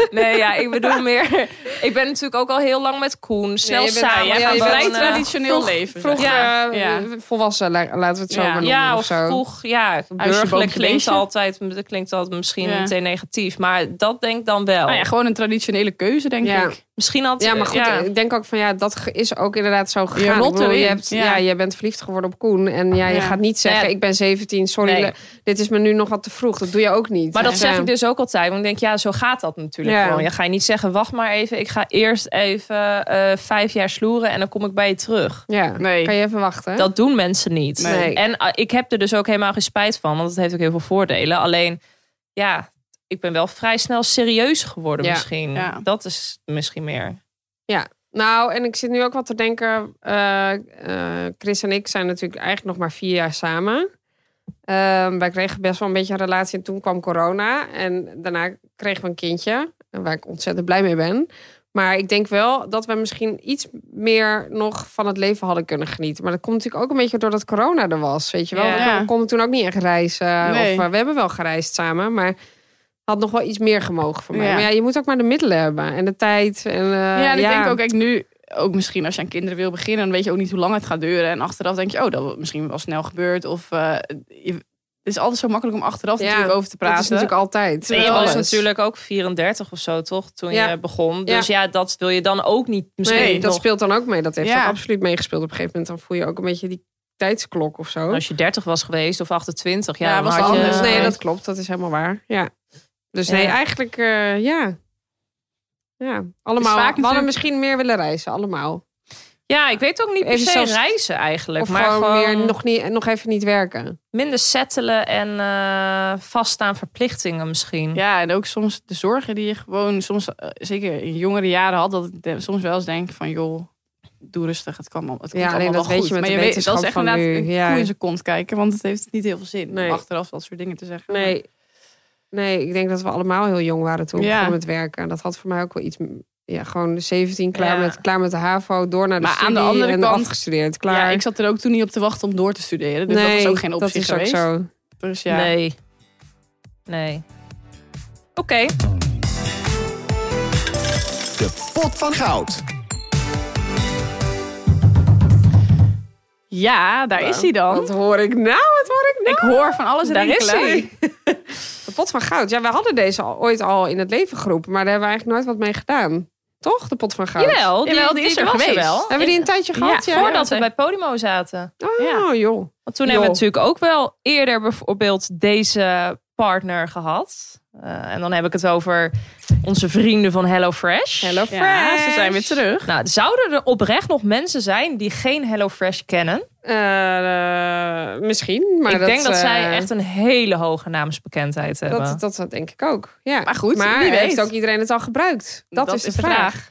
D: nee, ja, ik bedoel meer... Ik ben natuurlijk ook al heel lang met Koen. Snel
F: je bent
D: saai.
F: allemaal-
D: Jij
F: ja,
D: gaat
F: je bent
D: gewoon,
F: vrij
D: eh,
E: traditioneel leven.
F: Vroeg
E: zeg maar.
F: ja.
E: Ja.
F: eh, volwassen, la- laten we het zo
E: Ja.
F: maar noemen.
D: Ja,
F: of
D: of
F: zo.
D: vroeg. Ja,
E: boom
D: burgerlijk klinkt
E: gelezen.
D: altijd, dat klinkt altijd misschien
E: Ja.
D: meteen negatief. Maar dat denk ik dan wel.
E: Nou ja, gewoon een traditionele keuze, denk
F: Ja.
E: ik.
D: Misschien
F: Ah,
D: altijd...
F: Ja, maar goed, eh,
D: ja.
F: ik denk ook van ja, dat ge- is ook inderdaad zo gegaan. Ik
E: lot
F: bedoel, je,
E: erin,
F: hebt, ja.
E: ja.
F: je bent verliefd geworden op Koen. En ja, je
E: Ja.
F: gaat niet zeggen,
D: Nee.
F: ik ben 17, sorry,
D: Nee.
F: le- dit is me nu nog wat te vroeg. Dat doe je ook niet.
D: Maar dat
F: Dus,
D: zeg
F: eh,
D: ik dus ook altijd. Want ik denk, ja, zo gaat dat natuurlijk
F: Ja.
D: gewoon. Je ga je niet zeggen, wacht maar even. Ik ga eerst even eh, vijf jaar sloeren en dan kom ik bij je terug.
F: Ja,
E: Nee.
F: kan je even wachten.
D: Dat doen mensen niet.
F: Nee.
D: En ah, ik heb er dus ook helemaal geen spijt van. Want het heeft ook heel veel voordelen. Alleen, ja, ik ben wel vrij snel serieus geworden
F: Ja.
D: misschien.
E: Ja.
D: Dat is misschien meer.
F: Nou, en ik zit nu ook wat te denken. eh, eh, Chris en ik zijn natuurlijk eigenlijk nog maar vier jaar samen. Ehm, wij kregen best wel een beetje een relatie. En toen kwam corona. En daarna kregen we een kindje. En Waar ik ontzettend blij mee ben. Maar ik denk wel dat we misschien iets meer nog van het leven hadden kunnen genieten. Maar dat komt natuurlijk ook een beetje doordat corona er was. Weet je wel?
D: Ja.
F: We konden toen ook niet echt reizen.
E: Nee.
F: Of, eh, we hebben wel gereisd samen. Maar had nog wel iets meer gemogen van mij.
E: Ja.
F: Maar ja, je moet ook maar de middelen hebben. En de tijd. En, eh,
E: ja, en ik denk ook, kijk, nu ook misschien als je aan kinderen wil beginnen, dan weet je ook niet hoe lang het gaat duren. En achteraf denk je, oh, dat was misschien wel snel gebeurd. Of eh, je- het is altijd zo makkelijk om achteraf
F: Ja,
E: natuurlijk over te
F: Dat
E: praten.
F: is natuurlijk altijd.
D: Je
F: met
D: was
F: alles.
D: natuurlijk ook 34 of zo, toch? Toen
F: Ja.
D: je begon.
F: Ja.
D: Dus ja. dat wil je dan ook niet misschien
F: Nee, dat
D: nog.
F: speelt dan ook mee. Dat heeft
E: Ja.
F: ook absoluut meegespeeld. Op een gegeven moment dan voel je ook een beetje die tijdsklok of zo.
D: Als je 30 was geweest of 28, ja,
E: Ja,
D: dan
E: was
D: had
E: het
D: je-
E: anders.
F: nee, dat klopt. Dat is helemaal waar. Ja. Dus nee,
D: Ja.
F: eigenlijk eh, ja. Ja, allemaal.
E: vaak
F: we hadden
E: natuurlijk-
F: misschien meer willen reizen, allemaal.
D: Ja, ik weet ook niet per
F: Even
D: se
F: zelfs-
D: reizen eigenlijk.
F: Of
D: maar
F: gewoon,
D: gewoon
F: meer nog, niet, nog even niet werken.
D: minder settelen en eh, vast aan verplichtingen misschien.
F: Hm.
E: Ja, en ook soms de zorgen die je gewoon soms, eh, zeker in jongere jaren had, dat ik de- soms wel eens denk van, joh, doe rustig, het kan allemaal, het komt
F: alleen
E: allemaal
F: dat
E: wel
F: weet
E: goed.
F: je met
E: maar
F: de
E: je weet, dat
F: wetenschap
E: is echt
F: van
E: inderdaad
F: nu,
E: een
F: ja.
E: koe in zijn kont kijken, want het heeft niet heel veel zin
F: Nee.
E: om achteraf dat soort dingen te zeggen.
F: Nee. Nee, ik denk dat we allemaal heel jong waren toen.
E: Ja.
F: begonnen met werken. En dat had voor mij ook wel iets. m- Ja, gewoon de 17, klaar,
D: Ja.
F: met, klaar met de HAVO, door naar de
E: Maar aan de
F: studie
E: andere
F: en
E: kant-
F: afgestudeerd. Klaar.
E: Ja, ik zat er ook toen niet op te wachten om door te studeren, dus dat was ook geen optie
F: dat is
E: geweest.
F: ook zo.
E: Dus ja.
D: Nee. Nee. Oké.
C: De pot van goud.
E: Ja, daar is hij dan.
F: Wat hoor ik nou? Wat hoor ik nou?
E: Ik hoor van alles
D: Daar is
E: rinkelen.
D: hij.
F: De pot van goud. Ja, we hadden deze al, ooit al in het leven geroepen, maar daar hebben we eigenlijk nooit wat mee gedaan. Toch? De pot van goud.
D: Jawel, die,
E: Jawel, die is er
D: was
E: geweest.
D: wel.
F: Hebben we die een tijdje gehad?
E: Ja,
D: Voordat we
E: zeker.
D: bij Podimo zaten.
F: Oh, joh.
D: Want toen
F: Joh.
D: hebben we natuurlijk ook wel eerder bijvoorbeeld deze partner gehad. Eh, en dan heb ik het over onze vrienden van HelloFresh.
F: Hello
E: Ja,
F: Fresh.
E: ze zijn weer terug.
D: Nou, zouden er oprecht nog mensen zijn die geen HelloFresh kennen?
F: Eh, eh, misschien, maar
D: ik denk dat
F: eh,
D: zij echt een hele hoge naamsbekendheid hebben.
F: Dat, dat, dat denk ik ook. Ja.
E: Maar goed,
F: maar
E: wie
F: heeft
E: weet.
F: ook iedereen het al gebruikt? Dat, is de vraag.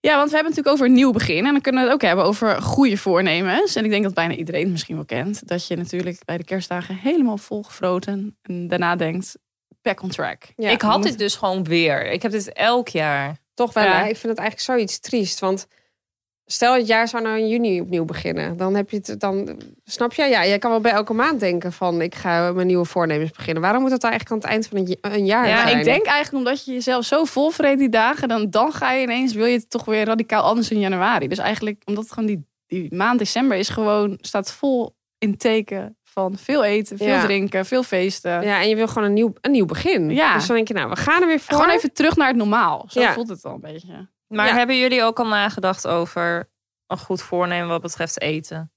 E: Ja, want we hebben het natuurlijk over een nieuw begin. En dan kunnen we het ook hebben over goede voornemens. En ik denk dat bijna iedereen het misschien wel kent. Dat je natuurlijk bij de kerstdagen helemaal volgefroten. En daarna denkt, back on track.
F: Ja.
D: ik had dit dus gewoon weer. Ik heb dit elk jaar.
F: Toch wel,
E: Ja.
F: hè? Ik vind het eigenlijk zoiets triest. Want stel het jaar zou nou in juni opnieuw beginnen. Dan heb je het, dan snap je? Ja, jij kan wel bij elke maand denken van... ik ga mijn nieuwe voornemens beginnen. Waarom moet dat dan eigenlijk aan het eind van een, j- een jaar
D: Ja,
E: Maar
F: zijn?
E: ik denk eigenlijk omdat je jezelf zo vol vreet die dagen. Dan, dan ga je ineens, wil je het toch weer radicaal anders in januari. Dus eigenlijk, omdat het gewoon die, die maand december is gewoon, staat vol in teken van veel eten, veel
F: Ja.
E: drinken, veel feesten.
F: Ja, en je wil gewoon een nieuw, een nieuw begin.
E: Ja.
F: Dus dan denk je, nou, we gaan er weer voor.
E: Gewoon even terug naar het normaal. Zo
F: Ja.
E: voelt het al een beetje.
D: Maar
F: Ja.
D: hebben jullie ook al nagedacht over een goed voornemen wat betreft eten?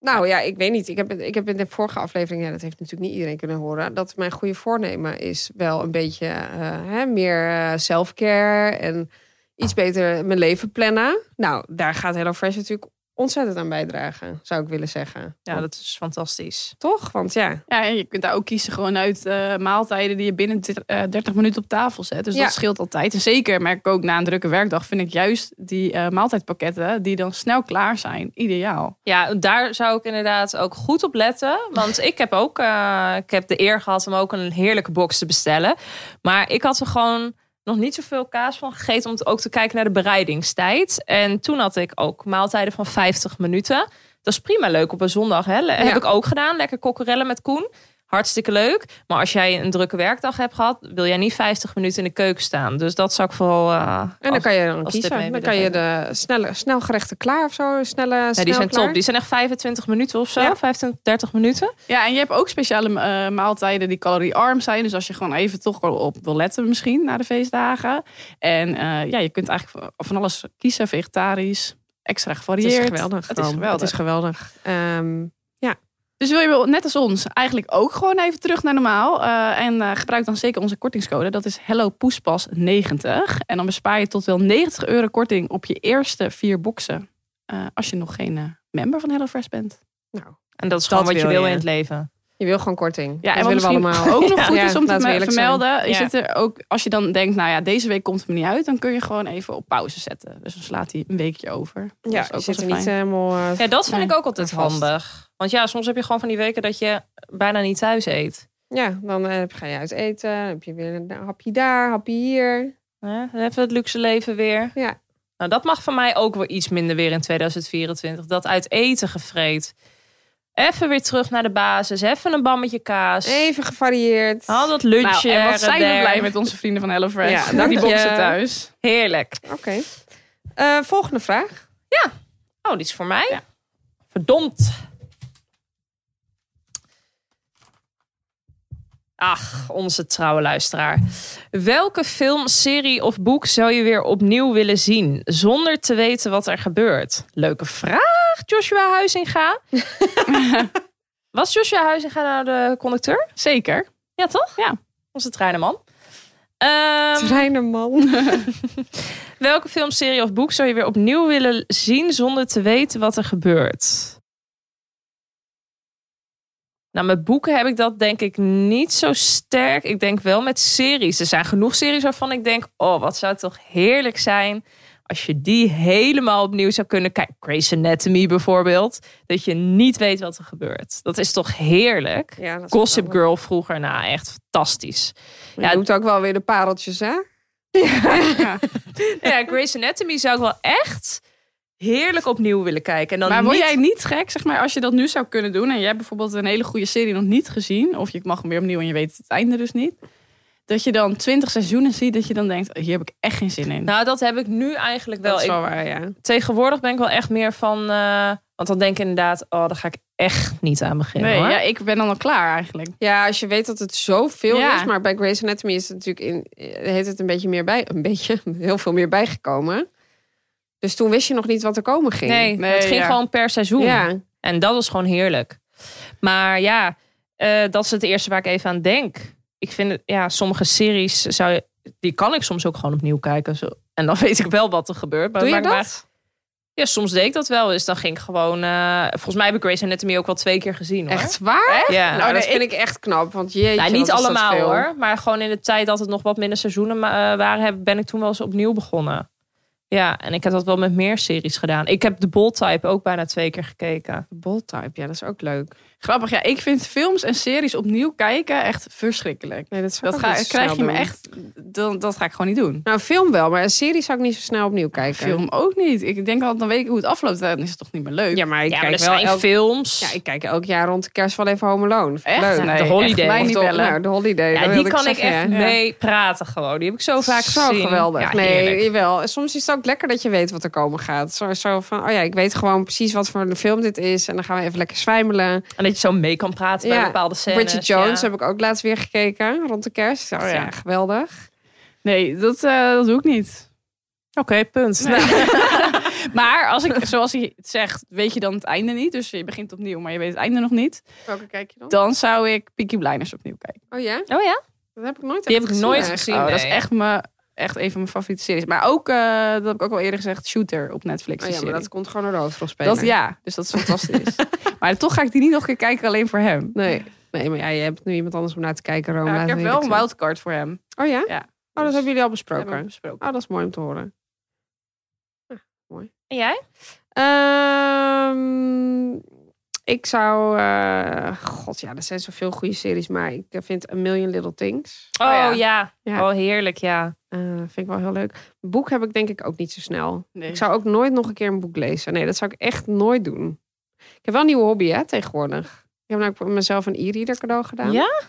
F: Nou ja, ik weet niet. Ik heb, ik heb in de vorige aflevering, ja, dat heeft natuurlijk niet iedereen kunnen horen, dat mijn goede voornemen is wel een beetje eh, hè, meer eh, self-care en iets beter mijn leven plannen. Nou, daar gaat HelloFresh natuurlijk ontzettend aan bijdragen, zou ik willen zeggen.
D: Ja, dat is fantastisch.
F: Toch? Want ja,
E: Ja, en je kunt daar ook kiezen gewoon uit eh, maaltijden die je binnen dr- eh, 30 minuten op tafel zet. Dus
F: Ja.
E: dat scheelt altijd. En zeker merk ik ook na een drukke werkdag vind ik juist die eh, maaltijdpakketten die dan snel klaar zijn, ideaal.
D: Ja, daar zou ik inderdaad ook goed op letten. Want ik heb ook, eh, ik heb de eer gehad om ook een heerlijke box te bestellen. Maar ik had er gewoon nog niet zoveel kaas van gegeten om te- ook te kijken naar de bereidingstijd. En toen had ik ook maaltijden van 50 minuten. Dat is prima leuk op een zondag. Hè? Le- Heb
F: Ja.
D: ik ook gedaan. Lekker kokkerellen met Koen. Hartstikke leuk. Maar als jij een drukke werkdag hebt gehad, wil jij niet 50 minuten in de keuken staan. Dus dat zou ik vooral. eh,
F: en dan
D: als-
F: kan je dan
D: als tip mee
F: kiezen. Dan
D: willen
F: kan
E: dus
F: je de snelle, snelgerechten klaar of zo, snelle,
D: Ja,
F: snel
D: die zijn
F: klaar.
D: top. Die zijn echt 25 minuten of zo.
F: Ja.
D: 25, 30 minuten.
E: Ja, en je hebt ook speciale eh, maaltijden die caloriearm zijn. Dus als je gewoon even toch wel op wil letten misschien na de feestdagen. En eh, ja, je kunt eigenlijk van- van alles kiezen, vegetarisch, extra
F: Het
E: gevarieerd.
F: is geweldig.
E: Het is
F: gewoon.
E: geweldig.
F: Het is geweldig. Ehm,
E: Dus wil je wel, net als ons, eigenlijk ook gewoon even terug naar normaal. eh, en eh, gebruik dan zeker onze kortingscode. Dat is HelloPoespas90. En dan bespaar je tot wel 90 euro korting op je eerste vier boxen. Eh, als je nog geen eh, member van HelloFresh bent.
D: En dat
F: Dat
D: is gewoon wat je
F: wil
D: wil
F: je.
D: in het leven.
F: je wil gewoon korting.
E: Ja,
F: dat
E: en
F: willen
E: wat
F: we allemaal.
E: misschien ook nog goed
F: Ja,
E: is om te
F: laten we
E: me-
F: eerlijk zijn.
E: vermelden. Is
D: Ja.
E: het er ook, als je dan denkt, nou ja, deze week komt het me niet uit. Dan kun je gewoon even op pauze zetten. Dus dan slaat hij een weekje over. Dat
F: Ja,
E: is
F: je
E: ook
F: zit er
E: altijd
F: niet
E: fijn.
F: helemaal... eh,
D: Ja, dat vind
E: Nee,
D: ik ook altijd
F: vast.
D: handig. Want ja, soms heb je gewoon van die weken dat je bijna niet thuis eet.
F: Ja, dan eh, ga je uit eten. Dan heb je weer een hapje daar, hapje hier.
D: Hè? Dan hebben we het luxe leven weer.
F: Ja.
D: Nou, dat mag van mij ook wel iets minder weer in 2024. Dat uit eten gevreed. Even weer terug naar de basis. Even een bammetje kaas.
F: Even gevarieerd.
D: Al dat lunchje.
E: Nou, en wat zijn we
D: er,
E: blij
D: der.
E: met onze vrienden van HelloFresh.
F: Ja,
E: Ja,
F: dank
E: die
F: je.
E: boxen thuis.
D: Heerlijk.
F: Oké. Eh, volgende vraag.
D: Oh, die is voor mij? Verdomd. Ach, onze trouwe luisteraar. Welke film, serie of boek zou je weer opnieuw willen zien zonder te weten wat er gebeurt? Leuke vraag, Joshua Huizinga. Was Joshua Huizinga nou de conducteur?
E: Zeker.
D: Ja, toch?
E: Ja.
D: Onze treinerman. Ehm,
F: Treinerman.
D: welke film, serie of boek zou je weer opnieuw willen zien zonder te weten wat er gebeurt? Nou, met boeken heb ik dat denk ik niet zo sterk. Ik denk wel met series. Er zijn genoeg series waarvan ik denk: oh, wat zou het toch heerlijk zijn als je die helemaal opnieuw zou kunnen kijken. Grey's Anatomy bijvoorbeeld. Dat je niet weet wat er gebeurt. Dat is toch heerlijk?
F: Ja, dat is
D: Gossip
F: geweldig.
D: Girl vroeger, nou echt fantastisch.
F: Je
D: Ja.
F: moet ook wel weer de pareltjes, hè?
D: ja, Grey's Anatomy zou ik wel echt heerlijk opnieuw willen kijken. En dan
E: Maar word
D: niet...
E: jij niet gek, zeg maar, als je dat nu zou kunnen doen... en jij hebt bijvoorbeeld een hele goede serie nog niet gezien... of je mag hem weer opnieuw en je weet het einde dus niet... dat je dan twintig seizoenen ziet, dat je dan denkt... oh, hier heb ik echt geen zin in.
D: Nou, dat heb ik nu eigenlijk wel.
F: dat is wel
D: Ik-
F: waar, ja.
D: tegenwoordig ben ik wel echt meer van... eh, Want dan denk ik inderdaad, oh, daar ga ik echt niet aan beginnen.
E: Nee,
D: hoor.
E: ja, ik ben dan al klaar eigenlijk.
F: Ja, als je weet dat het zoveel
E: Ja.
F: is. Maar bij Grey's Anatomy is het natuurlijk in, heet het een beetje meer bij. Een beetje, heel veel meer bijgekomen. Dus toen wist je nog niet wat er komen ging.
D: Nee,
E: Nee,
D: het ging
E: ja.
D: gewoon per seizoen.
F: Ja,
D: En dat was gewoon heerlijk. Maar ja, eh, dat is het eerste waar ik even aan denk. Ik vind, het- ja, sommige series zou je, die kan ik soms ook gewoon opnieuw kijken. Zo. En dan weet ik wel wat er gebeurt. Maar
F: doe je
D: maar- maar-
F: dat?
D: ja, soms deed ik dat wel eens. Dan ging ik gewoon, eh, volgens mij heb ik Grey's Anatomy ook wel twee keer gezien. Hoor.
F: Echt waar?
D: Ja.
F: Nou, dat
E: nee,
F: vind ik echt knap. Want jeetje,
D: Nou, niet
F: wat is dat
D: allemaal
F: veel.
D: hoor. Maar gewoon in de tijd dat het nog wat minder seizoenen eh, waren, heb- ben ik toen wel eens opnieuw begonnen. Ja, en ik heb dat wel met meer series gedaan. Ik heb de Bold Type ook bijna twee keer gekeken.
F: Bold type, ja, dat is ook leuk.
E: Grappig, ja. Ik vind films en series opnieuw kijken echt verschrikkelijk.
F: Nee, dat zou
E: Dat
F: ik ook
E: ga,
F: niet zo
E: krijg
F: snel
E: je me
F: doen.
E: echt... Dan, dat ga ik gewoon niet doen.
F: Nou, film wel, maar een serie zou ik niet zo snel opnieuw kijken.
E: Film ook niet. Ik denk altijd, dan weet ik hoe het afloopt. Dan is het toch niet meer leuk.
F: Ja, maar ik
D: ja, maar
F: kijk
D: er
F: wel
D: zijn
F: elk...
D: films.
F: Ja, ik kijk elk jaar rond de kerst wel even Home Alone. Vind ik
E: Echt?
F: Leuk.
E: Nee,
D: de Holiday.
E: echt mij
F: Of
E: niet
F: de-
E: bellen.
F: Nou, de holiday. dat
D: Ja, die
F: wilde
D: kan ik,
F: zeggen,
D: echt
F: ja.
D: mee praten gewoon. Die heb ik zo vaak
F: zo
D: gezien.
F: geweldig.
D: Ja,
F: nee,
D: heerlijk.
F: jawel. En Soms is het ook lekker dat je weet wat er komen gaat. Zo, zo van, oh ja, ik weet gewoon precies wat voor een film dit is. En dan gaan we even lekker zwijmelen.
D: En dat je zo mee kan praten bij
F: Ja,
D: bepaalde scènes.
F: Bridget Jones
D: ja.
F: heb ik ook laatst weer gekeken rond de kerst. Oh ja,
E: Ja.
F: geweldig.
E: Nee, dat, eh, dat doe ik niet.
D: Oké, punt.
E: Maar als ik, zoals hij het zegt, weet je dan het einde niet. Dus je begint opnieuw, maar je weet het einde nog niet.
F: Welke kijk je dan?
E: Dan zou ik Peaky Blinders opnieuw kijken.
F: Oh ja,
D: Oh ja?
F: dat heb ik nooit
D: Die
F: echt
D: heb ik nooit
F: eigenlijk.
D: gezien.
E: Oh, dat is
D: nee.
E: echt, me, echt een van mijn favoriete series. Maar ook, eh, dat heb ik ook al eerder gezegd, Shooter op Netflix.
F: Oh
E: die
F: ja, maar
E: serie.
F: dat komt gewoon door de hoofdrolspeler.
E: dat, ja, dus dat is fantastisch. maar toch ga ik die niet nog een keer kijken alleen voor hem.
F: Nee. nee, maar ja, je hebt nu iemand anders om naar te kijken. Rome,
E: Ja,
F: laat
E: ik heb
F: weet
E: wel een
F: het.
E: wildcard voor hem.
F: Oh ja?
E: Ja. Dus-
F: Oh, dat hebben jullie al
E: we
F: besproken.
E: besproken.
F: Oh, dat is mooi om te horen. Ah,
D: En jij?
F: Ehm, ik zou... eh, God, ja, er zijn zoveel goede series, maar ik vind A Million Little Things.
D: Oh,
E: ja.
D: ja.
F: Ja.
D: Oh, heerlijk, ja.
F: eh, vind ik wel heel leuk. Boek heb ik denk ik ook niet zo snel.
E: Nee.
F: Ik zou ook nooit nog een keer een boek lezen. Nee, dat zou ik echt nooit doen. Ik heb wel een nieuwe hobby, hè, tegenwoordig. Ik heb nou ook voor mezelf een e-reader cadeau gedaan.
D: Ja?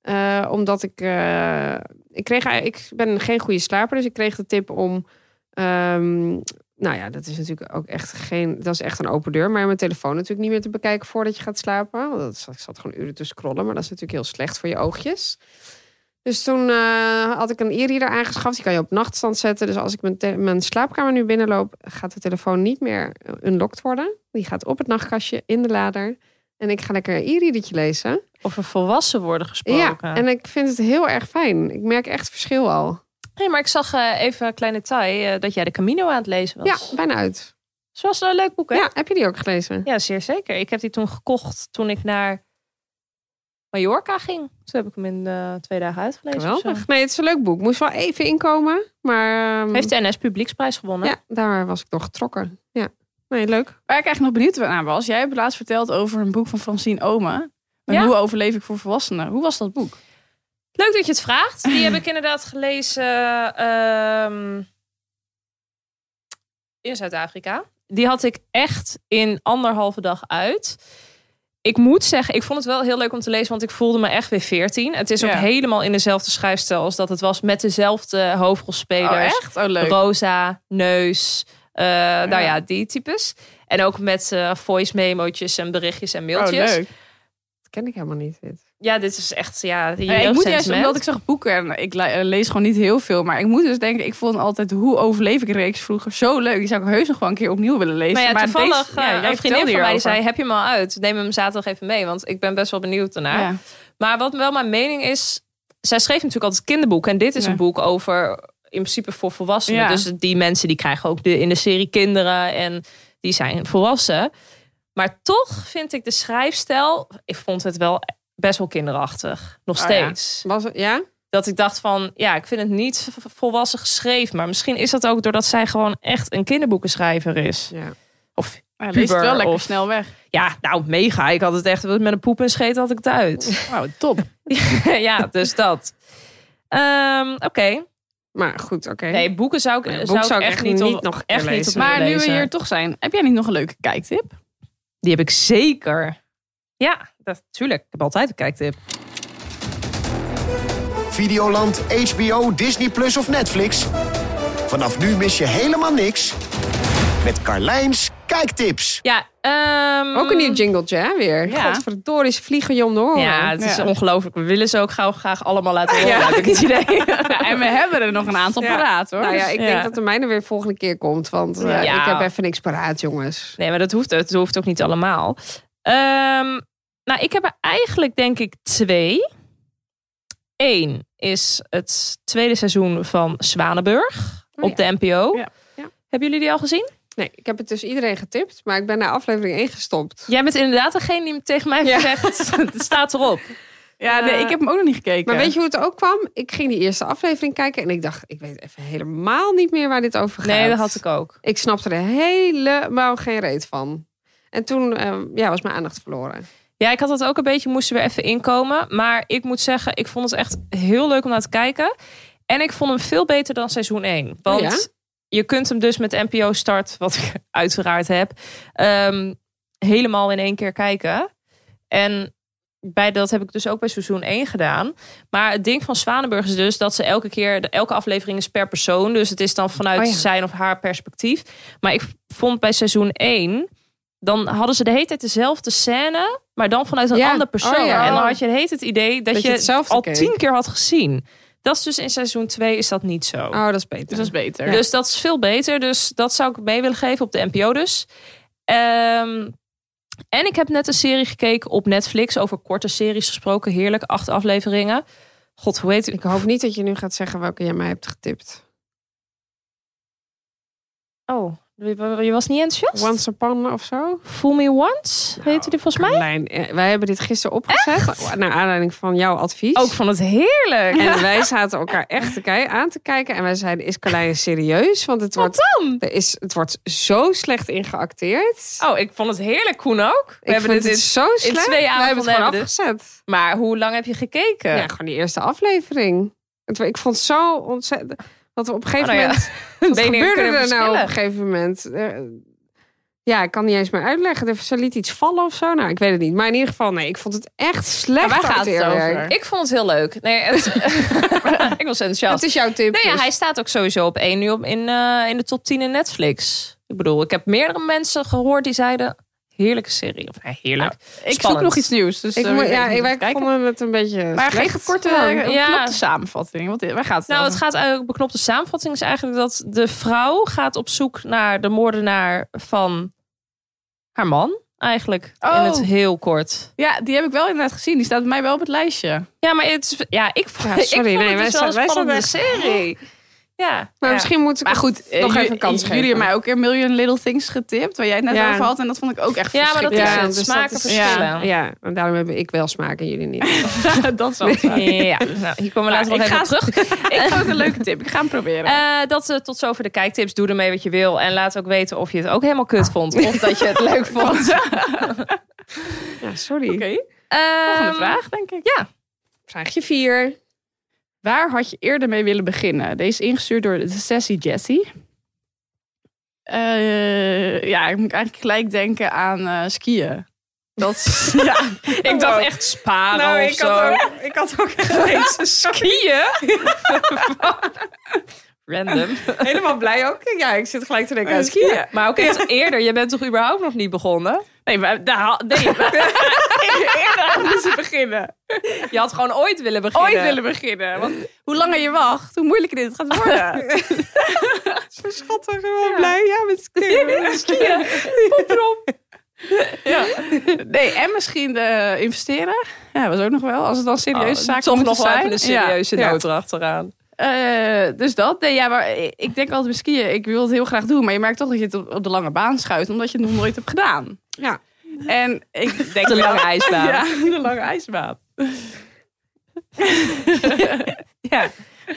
F: Eh, omdat ik... eh, ik, kreeg, ik ben geen goede slaper, dus ik kreeg de tip om... ehm, nou ja, dat is natuurlijk ook echt geen... Dat is echt een open deur. Maar mijn telefoon natuurlijk niet meer te bekijken voordat je gaat slapen. Want dat, ik zat gewoon uren te scrollen. Maar dat is natuurlijk heel slecht voor je oogjes. Dus toen eh, had ik een e-reader aangeschaft. Die kan je op nachtstand zetten. Dus als ik mijn, te- mijn slaapkamer nu binnenloop... gaat de telefoon niet meer eh, unlocked worden. Die gaat op het nachtkastje, in de lader. En ik ga lekker een e-readertje lezen.
D: Over volwassen worden gesproken.
F: Ja, en ik vind het heel erg fijn. Ik merk echt verschil al.
D: Hey, maar ik zag eh, even een klein detail eh, dat jij de Camino aan het lezen was.
F: Ja, bijna uit.
D: Zo was een leuk boek, hè?
F: Ja, heb je die ook gelezen?
D: Ja, zeer zeker. Ik heb die toen gekocht toen ik naar Mallorca ging. Toen heb ik hem in eh, twee dagen uitgelezen. of zo.
F: Geweldig. Nee, het is een leuk boek. Moest wel even inkomen. Maar ehm,
D: Heeft de NS Publieksprijs gewonnen.
F: ja, daar was ik door getrokken. Ja, nee, leuk.
E: Waar ik eigenlijk nog benieuwd naar was. Jij hebt laatst verteld over een boek van Francine Omen. En
D: Ja.
E: Hoe overleef ik voor volwassenen? Hoe was dat boek?
D: Leuk dat je het vraagt. Die heb ik inderdaad gelezen ehm, in Zuid-Afrika. Die had ik echt in anderhalve dag uit. Ik moet zeggen, ik vond het wel heel leuk om te lezen, want ik voelde me echt weer 14. Het is
E: Ja.
D: ook helemaal in dezelfde schrijfstijl als dat het was, met dezelfde hoofdrolspelers.
E: Oh, leuk.
D: Rosa, neus. eh, Nou
E: Ja.
D: ja, die types. En ook met eh, voice memo'tjes en berichtjes en
E: Oh,
D: mailtjes.
E: leuk.
F: Dat ken ik helemaal niet. Dit.
D: Ja, dit is echt, ja, je
E: Ja, Eh, ik moet juist,
D: jeugdsentiment.
E: omdat ik zag boeken en ik le- eh, lees gewoon niet heel veel. Maar ik moet dus denken, ik vond altijd hoe overleef ik reeks vroeger zo leuk. Die zou ik heus nog wel een keer opnieuw willen lezen.
D: Maar ja, toevallig,
E: deze-
D: eh,
E: jij
D: een
E: vertelde
D: vriendin van mij die
E: hierover.
D: zei, heb je hem al uit? Neem hem zaterdag even mee, want ik ben best wel benieuwd daarna.
E: Ja.
D: Maar wat wel mijn mening is, zij schreef natuurlijk altijd kinderboeken. En dit is
E: Ja.
D: een boek over, in principe voor volwassenen.
E: Ja.
D: Dus die mensen die krijgen ook de, in de serie kinderen en die zijn volwassen. Maar toch vind ik de schrijfstijl, ik vond het wel best wel kinderachtig. Nog
E: Oh ja.
D: steeds
F: Was het, ja?
D: dat ik dacht van, ja, ik vind het niet v- volwassen geschreven. Maar misschien is dat ook doordat zij gewoon echt een kinderboekenschrijver is.
F: Ja.
D: Of
E: Ja, lees het
D: puber
E: wel lekker
D: of-
E: snel weg.
D: ja, nou mega. Ik had het echt met een poep en scheet had ik het uit.
E: Wauw, top.
D: ja, dus dat. Ehm, Oké.
F: Maar goed, oké.
D: Nee, boeken zou ik,
F: Nee, boek
D: zou ik
F: zou ik
D: echt,
F: echt
D: niet,
F: niet
D: op-
F: nog een keer
D: echt niet
F: lezen.
D: op
E: maar nu we
D: lezen.
E: hier toch zijn, heb jij niet nog een leuke kijktip?
D: Die heb ik zeker. Ja, dat, tuurlijk. Ik heb altijd een kijktip.
C: Videoland, HBO, Disney Plus of Netflix. Vanaf nu mis je helemaal niks. met Carlijns Kijktips.
D: Ja, ehm,
F: Ook een nieuw jingletje, hè, weer.
E: Ja.
F: Godverdorie, ze vliegen je om de oren. Nou
D: Ja, het is
E: Ja.
D: ongelooflijk. We willen ze ook gauw graag allemaal laten horen, heb ik het idee.
E: Ja, en we hebben er nog een aantal
F: Ja.
E: paraat hoor.
F: Nou ja,
E: Dus-
F: ik
D: ja.
F: denk dat de mijne weer volgende keer komt. Want eh,
D: Ja.
F: ik heb even niks paraat, jongens.
D: Nee, maar dat hoeft, dat hoeft ook niet allemaal. Ehm, nou, ik heb er eigenlijk denk ik twee. Eén is het tweede seizoen van Zwanenburg
F: Oh
D: op de NPO.
E: Ja.
F: Ja.
D: Hebben jullie die al gezien?
F: Nee, ik heb het dus iedereen getipt. Maar ik ben na aflevering 1 gestopt.
D: Jij bent inderdaad degene die tegen mij heeft gezegd, het staat erop.
E: Ja,
D: eh,
E: nee, ik heb hem ook nog niet gekeken.
F: Maar weet je hoe het ook kwam? Ik ging die eerste aflevering kijken en ik dacht, ik weet even helemaal niet meer waar dit over gaat.
D: Nee, dat had ik ook.
F: Ik snapte er helemaal geen reet van. En toen eh, ja, was mijn aandacht verloren.
D: Ja, ik had dat ook een beetje, moesten weer even inkomen. Maar ik moet zeggen, ik vond het echt heel leuk om naar te kijken. En ik vond hem veel beter dan seizoen 1. Want
F: Oh Ja?
D: je kunt hem dus met NPO Start, wat ik uiteraard heb, ehm, helemaal in één keer kijken. En bij dat heb ik dus ook bij seizoen 1 gedaan. Maar het ding van Zwanenburg is dus dat ze elke keer, de- elke aflevering is per persoon. Dus het is dan vanuit
F: Oh ja.
D: zijn of haar perspectief. Maar ik vond bij seizoen 1, dan hadden ze de hele tijd dezelfde scène, maar dan vanuit een
F: Ja.
D: ander persoon.
F: Oh ja.
D: En dan had je de hele tijd het idee dat,
F: Dat je
D: je,
F: hetzelfde
D: al
F: keek.
D: tien keer had gezien. Dat is dus in seizoen 2 is dat niet zo.
F: Oh, dat is beter.
E: Dus dat is beter.
D: Dus dat is veel beter. Dus dat zou ik mee willen geven op de NPO dus. Ehm, en ik heb net een serie gekeken op Netflix. Over korte series gesproken. Heerlijk. Acht afleveringen. God, hoe heet
F: Ik hoop niet dat je nu gaat zeggen welke jij mij hebt getipt.
D: Oh, je was niet enthousiast?
F: Once Upon of zo?
D: Fool Me Once heette die volgens mij.
F: Carlijn, eh, wij hebben dit gisteren opgezet. Naar aanleiding van jouw advies.
D: Ook van het heerlijk.
F: En wij zaten elkaar echt te kij- aan te kijken. En wij zeiden, is Carlijn serieus? Want het wordt,
D: dan?
F: er is, het wordt zo slecht ingeacteerd.
D: Oh, ik vond het heerlijk, Koen ook. We
F: We hebben het
D: in-
F: zo slecht.
D: twee
F: Wij
D: avonden
F: hebben het gewoon
D: hebben we
F: afgezet.
D: Maar hoe lang heb je gekeken?
F: Ja. gewoon die eerste aflevering. Het- Ik vond het zo ontzettend... Dat we op een gegeven
D: Oh, nou ja.
F: moment... Wat
D: Benen
F: gebeurde
D: kunnen
F: er nou op
D: verschillen.
F: een gegeven moment? Eh, Ja, ik kan niet eens meer uitleggen. Er- Ze liet iets vallen of zo. Nou, ik weet het niet. Maar in ieder geval, nee, ik vond het echt slecht.
E: Maar waar gaat het
F: acteerwerk.
E: over?
D: Ik vond het heel leuk. Nee, het- ik was enthousiast.
F: Dat is jouw tip.
D: Nee, ja,
F: dus.
D: hij staat ook sowieso op één nu op in, eh, in de top 10 in Netflix. Ik bedoel, ik heb meerdere mensen gehoord die zeiden... heerlijke serie. Of nou, heerlijk.
E: ik zoek
D: Spannend.
E: nog iets nieuws. Dus
F: Ik,
E: eh,
F: moet-
E: weet
F: ja,
E: niet
F: ik,
E: of
F: wij
E: het kijken.
F: vonden het een beetje
E: Maar
F: slecht.
E: geef een korte,
F: Ja.
E: eh,
D: Ja.
E: klopte samenvatting. Want eh, waar gaat het
D: Nou, het
E: over?
D: gaat eigenlijk beknopte samenvatting is eigenlijk dat de vrouw gaat op zoek naar de moordenaar van haar man. Eigenlijk in
E: Oh.
D: het heel kort.
E: Ja, die heb ik wel inderdaad gezien. Die staat bij mij wel op het lijstje.
D: Ja, maar het is, ja, ik, vond-
F: Ja, sorry,
D: ik vond
F: nee,
D: het
F: wij
D: dus wel een
F: staan- wij staan
D: spannende serie. Ja,
F: Maar
D: ja.
F: misschien moet ik
E: Maar goed, eh,
F: nog
E: ju-
F: even een kans geven.
E: jullie hebben mij ook een Million Little Things getipt. Waar jij het net
F: Ja.
E: over had. En dat vond ik ook echt
D: Ja, maar dat
E: verschrikkelijk.
D: is
F: Ja,
D: het.
F: dus dat
D: Smaken
F: is-
D: verschillen.
F: Ja, ja, en daarom heb ik wel smaak en jullie niet.
E: Ja, dat zal het zijn.
D: Ja, nou, hier komen we
E: Maar
D: later nog
E: ik
D: even
E: ga-
D: op terug.
E: Ik vond het een leuke tip. Ik ga hem proberen.
D: Eh, dat eh, tot zover de kijktips. Doe ermee wat je wil. En laat ook weten of je het ook helemaal kut vond. Of dat je het leuk vond.
F: Ja, sorry.
E: Oké, volgende
D: Ehm,
E: vraag denk ik.
F: Vraagje vier.
E: Waar had je eerder mee willen beginnen? Deze is ingestuurd door de Sassy Jessie. Eh, ja, ik moet eigenlijk gelijk denken aan eh, skiën. Dat is- ja, Nou,
D: Ik dacht echt sparen of zo.
F: ik had ook echt
D: Skiën? Random.
F: helemaal blij ook. Ja, ik zit gelijk te denken aan skiën.
E: skiën.
D: Maar ook echt eerder. Je bent toch überhaupt nog niet begonnen?
E: Nee, maar daar ha- nee. eerder moeten ze beginnen.
D: Je had gewoon ooit willen beginnen.
E: Ooit willen beginnen. Want hoe langer je wacht, hoe moeilijker dit gaat worden.
F: Zo schattig, helemaal blij. Ja, met skiën.
E: skiën. Poeprom. Ja. Nee, en misschien eh, investeren. Ja, was ook nog wel. Als het dan
D: Oh,
E: serieuze zaak
D: toch
E: moet
D: nog wel
E: zijn.
D: even een
E: Ja.
D: serieuze
F: Ja.
D: noot erachteraan.
E: Eh, dus dat. Nee, ja, maar ik- ik denk altijd bij skiën, ik wil het heel graag doen. Maar je merkt toch dat je het op, op de lange baan schuift, omdat je het nog nooit hebt gedaan.
F: Ja.
E: En ik denk
D: De
E: wel-
D: lange ijsbaan.
E: Ja, de lange ijsbaan.
D: Ja.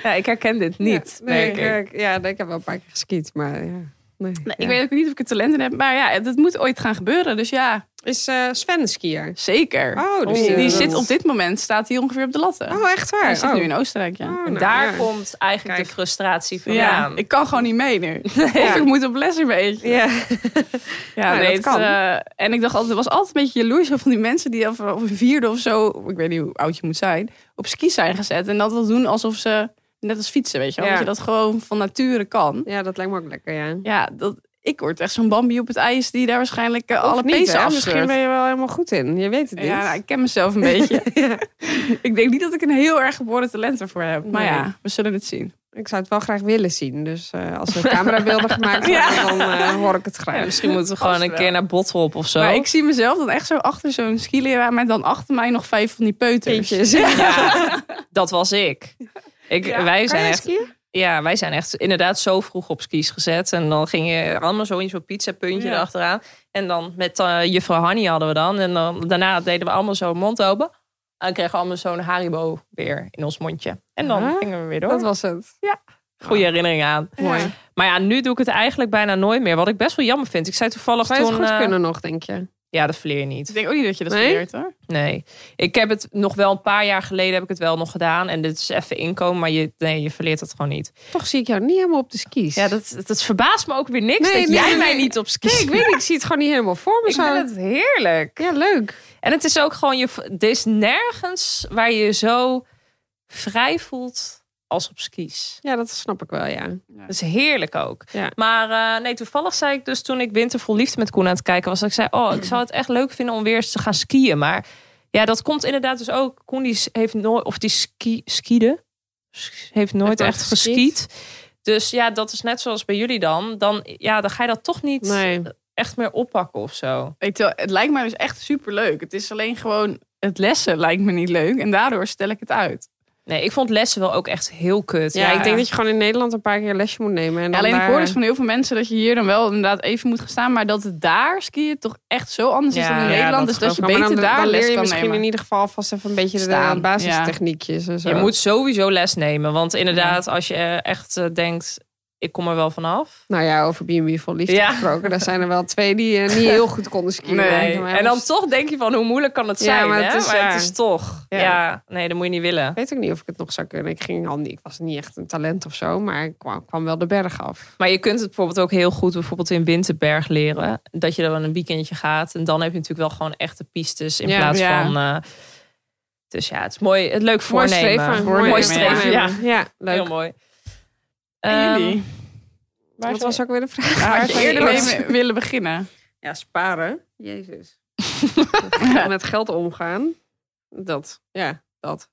D: Ja, ik herken dit niet,
F: nee,
D: merk ik.
F: ik, eh, Ja, nee, ik heb wel een paar keer geskiet, maar ja. Nee.
E: Nee,
F: Ja.
E: Ik weet ook niet of ik er talent in heb, maar ja, dat moet ooit gaan gebeuren. Dus ja,
F: Is eh, Sven een skier?
E: zeker.
F: Oh, dus
E: die
F: die-
D: eh,
E: die
F: dat-
E: zit op dit moment, staat hij ongeveer op de latten.
F: Oh, echt waar?
E: hij zit
F: Oh.
E: nu in Oostenrijk, ja.
F: Oh,
E: ja.
F: nou,
D: Daar
F: ja.
D: komt eigenlijk
F: Kijk.
D: de frustratie vandaan.
E: ik kan gewoon niet mee nu. Of ik moet op les een beetje.
F: Ja.
E: Ja,
F: Nou,
E: nee,
F: dat
E: het,
F: kan.
E: eh, en ik dacht altijd, er was altijd een beetje jaloers van die mensen die of, of een vierde of zo, ik weet niet hoe oud je moet zijn, op ski zijn gezet. En dat wil doen alsof ze, net als fietsen, weet je wel,
F: Ja.
E: dat je dat gewoon van nature kan.
F: ja, dat lijkt me ook lekker, ja.
E: Ja, dat, Ik word echt zo'n Bambi op het ijs die daar waarschijnlijk eh, alle
F: Of niet,
E: pezen
F: hè?
E: afscheurt.
F: Misschien ben je wel helemaal goed in. Je weet het niet.
E: Ja, nou, ik ken mezelf een beetje.
F: Ja.
E: Ik denk niet dat ik een heel erg geboren talent ervoor heb. Maar
F: Nee.
E: ja, we zullen het zien.
F: Ik zou het wel graag willen zien. Dus eh, als er camerabeelden gemaakt worden,
E: Ja.
F: dan eh, hoor ik het graag.
D: Ja, misschien moeten we gewoon
E: Vast
D: een
E: wel.
D: keer naar Bottrop of zo.
E: Maar ik zie mezelf dan echt zo achter zo'n skileraar met dan achter mij nog vijf van die peuters.
F: Kindjes.
D: Ja, dat was ik. ik
E: Ja,
D: wij,
F: Kan
D: zijn
F: jij
D: echt,
F: skiën?
D: ja, wij zijn echt inderdaad zo vroeg op skis gezet. En dan ging je allemaal zo in zo'n pizzapuntje
E: Ja.
D: erachteraan. En dan met eh, juffrouw Hanny hadden we dan. En dan, daarna deden we allemaal zo mond open. En kregen we allemaal zo'n Haribo weer in ons mondje. En dan
F: Ah,
D: gingen we weer door.
F: Dat was het.
D: Goede herinnering aan.
F: Mooi.
D: Maar ja, nu doe ik het eigenlijk bijna nooit meer. Wat ik best wel jammer vind. Ik zei toevallig
F: Zou je het
D: toen...
F: goed
D: eh,
F: kunnen nog, denk je?
D: Ja, dat verleer je niet.
E: Ik denk ook niet dat je dat
F: Nee?
E: leert hoor.
D: Nee, ik heb het nog wel een paar jaar geleden heb ik het wel nog gedaan. En dit is even inkomen, maar je, nee, je verleert het gewoon niet.
F: Toch zie ik jou niet helemaal op de skis.
D: Ja, dat, dat verbaast me ook weer niks
F: Nee,
D: dat
F: nee,
D: jij
F: nee.
D: mij niet op ski
F: Nee, ik weet niet. Ik zie het gewoon niet helemaal voor me
D: Ik
F: zo.
D: vind het heerlijk.
F: Ja, leuk.
D: En het is ook gewoon, je, er is nergens waar je je zo vrij voelt als op skis.
F: Ja, dat snap ik wel, ja.
D: Dat is heerlijk ook.
F: Ja.
D: Maar eh, nee, toevallig zei ik dus toen ik Winter vol Liefde met Koen aan het kijken was. Dat ik zei, oh, ik zou het echt leuk vinden om weer eens te gaan skiën. Maar ja, dat komt inderdaad dus ook. Koen die heeft nooit, of die ski, skiede, s- heeft nooit
F: Heeft nooit
D: echt
F: geskiet.
D: geskiet. Dus ja, dat is net zoals bij jullie dan. Dan, ja, dan ga je dat toch niet
F: Nee.
D: echt meer oppakken of zo.
E: Weet je wel, het lijkt mij dus echt super leuk. Het is alleen gewoon, het lessen lijkt me niet leuk. En daardoor stel ik het uit.
D: Nee, ik vond lessen wel ook echt heel kut.
F: Ja,
D: Ja,
F: ik denk dat je gewoon in Nederland een paar keer lesje moet nemen. En dan
E: alleen ik
F: daar-
E: hoor dus van heel veel mensen dat je hier dan wel inderdaad even moet gaan staan. Maar dat het daar skiën toch echt zo anders is
D: Ja,
E: dan in
D: ja,
E: Nederland.
D: dat
E: Dus dat je
F: Maar dan-
E: beter daar
F: dan
E: les
F: leer je
E: kan
F: misschien
E: nemen.
F: in ieder geval vast even een beetje de,
E: Staan,
F: basistechniekjes en zo.
D: je moet sowieso les nemen. Want inderdaad, als je eh, echt eh, denkt, ik kom er wel vanaf.
F: Nou ja, over B&B vol liefde
D: Ja.
F: gesproken. Daar zijn er wel twee die eh, niet heel goed konden skiën.
D: Nee.
F: Maar
D: En dan
F: dat
D: toch denk je van hoe moeilijk kan het
F: Ja,
D: zijn,
F: maar
D: hè?
F: het is,
D: maar
F: ja.
D: het is toch.
F: Ja.
D: Ja. nee, dat moet je niet willen.
F: Ik weet ook niet of ik het nog zou kunnen. Ik, ging al niet, ik was niet echt een talent of zo, maar ik kwam, kwam wel de berg af.
D: Maar je kunt het bijvoorbeeld ook heel goed bijvoorbeeld in Winterberg leren. Dat je dan een weekendje gaat. En dan heb je natuurlijk wel gewoon echte pistes in
F: Ja,
D: plaats
E: ja.
D: van... eh, dus ja, het is mooi. Het leuk voornemen.
F: streven.
E: Mooi
F: Mooi
E: streven,
F: streven, ja.
D: ja.
F: Ja, leuk.
D: Heel mooi.
E: En jullie?
D: Ehm,
F: eh, Waar
D: Wat
F: Wat was ook weer de vraag?
E: Waar
D: had
E: zou je eerder mee willen beginnen?
F: Ja, sparen. Jezus. Met geld omgaan. Dat. Ja, dat.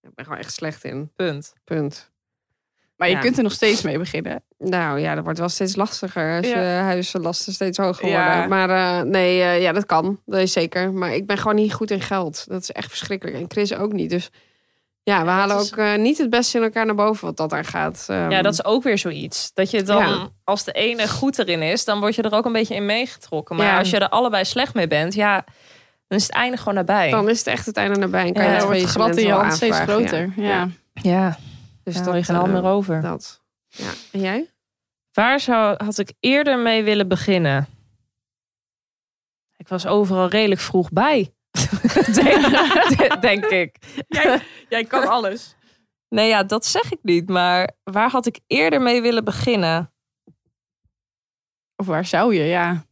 F: Ik ben gewoon echt slecht in.
D: punt.
F: Punt.
E: Maar je
F: Ja.
E: kunt er nog steeds mee beginnen.
F: Nou ja, dat wordt wel steeds lastiger als
E: Ja.
F: je huizenlasten steeds hoger worden.
E: Ja.
F: Maar eh, nee, eh, ja, dat kan. Dat is zeker. Maar ik ben gewoon niet goed in geld. Dat is echt verschrikkelijk. En Chris ook niet. Dus ja, we halen
D: is-
F: ook eh, niet het beste in elkaar naar boven wat dat aan gaat. Ehm,
D: Ja, dat is ook weer zoiets. Dat je dan,
F: Ja.
D: als de ene goed erin is, dan word je er ook een beetje in meegetrokken. Maar
F: Ja.
D: als je er allebei slecht mee bent, ja, dan is het einde gewoon nabij.
F: Dan is het echt het einde nabij. En kan
D: Ja,
F: je
E: Ja,
F: het
E: dan wordt het
F: faillissement
E: grat in je
F: wel
E: hand steeds
F: aanvragen, ja.
E: groter. Ja.
D: ja,
F: Dus
D: Ja,
F: dat
D: je geen hand
F: eh,
D: meer over.
F: Dat. Ja. En jij?
D: Waar zou, had ik eerder mee willen beginnen? Ik was overal redelijk vroeg bij. denk, denk ik.
E: Jij, jij kan alles.
D: Nee, ja, dat zeg ik niet. Maar waar had ik eerder mee willen beginnen?
E: Of waar zou je? Ja.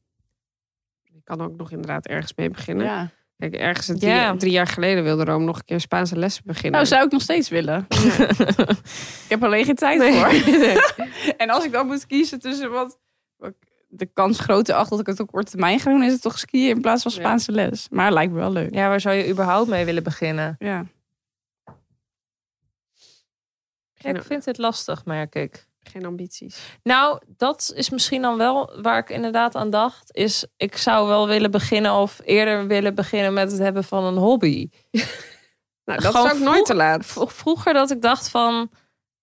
F: Ik kan ook nog inderdaad ergens mee beginnen.
E: ja.
F: Kijk, ergens drie,
D: Ja.
F: drie jaar geleden wilde Rome nog een keer Spaanse lessen beginnen.
E: Nou, zou ik nog steeds willen. Ik heb alleen geen tijd
F: Nee.
E: voor.
F: Nee.
E: En als ik dan moet kiezen tussen wat, wat ik de kans groter acht dat ik het op korte termijn ga doen, is het toch skiën in plaats van
F: Ja.
E: Spaanse les. Maar lijkt me wel leuk.
D: Ja, waar zou je überhaupt mee willen beginnen?
E: Ja.
D: Ik vind het lastig, merk ik.
F: Geen ambities.
D: Nou, dat is misschien dan wel waar ik inderdaad aan dacht. Is ik zou wel willen beginnen of eerder willen beginnen met het hebben van een hobby.
F: Nou, dat
D: Gewoon
F: is ook nooit
D: vroeg-
F: te laat.
D: v- vroeger dat ik dacht van.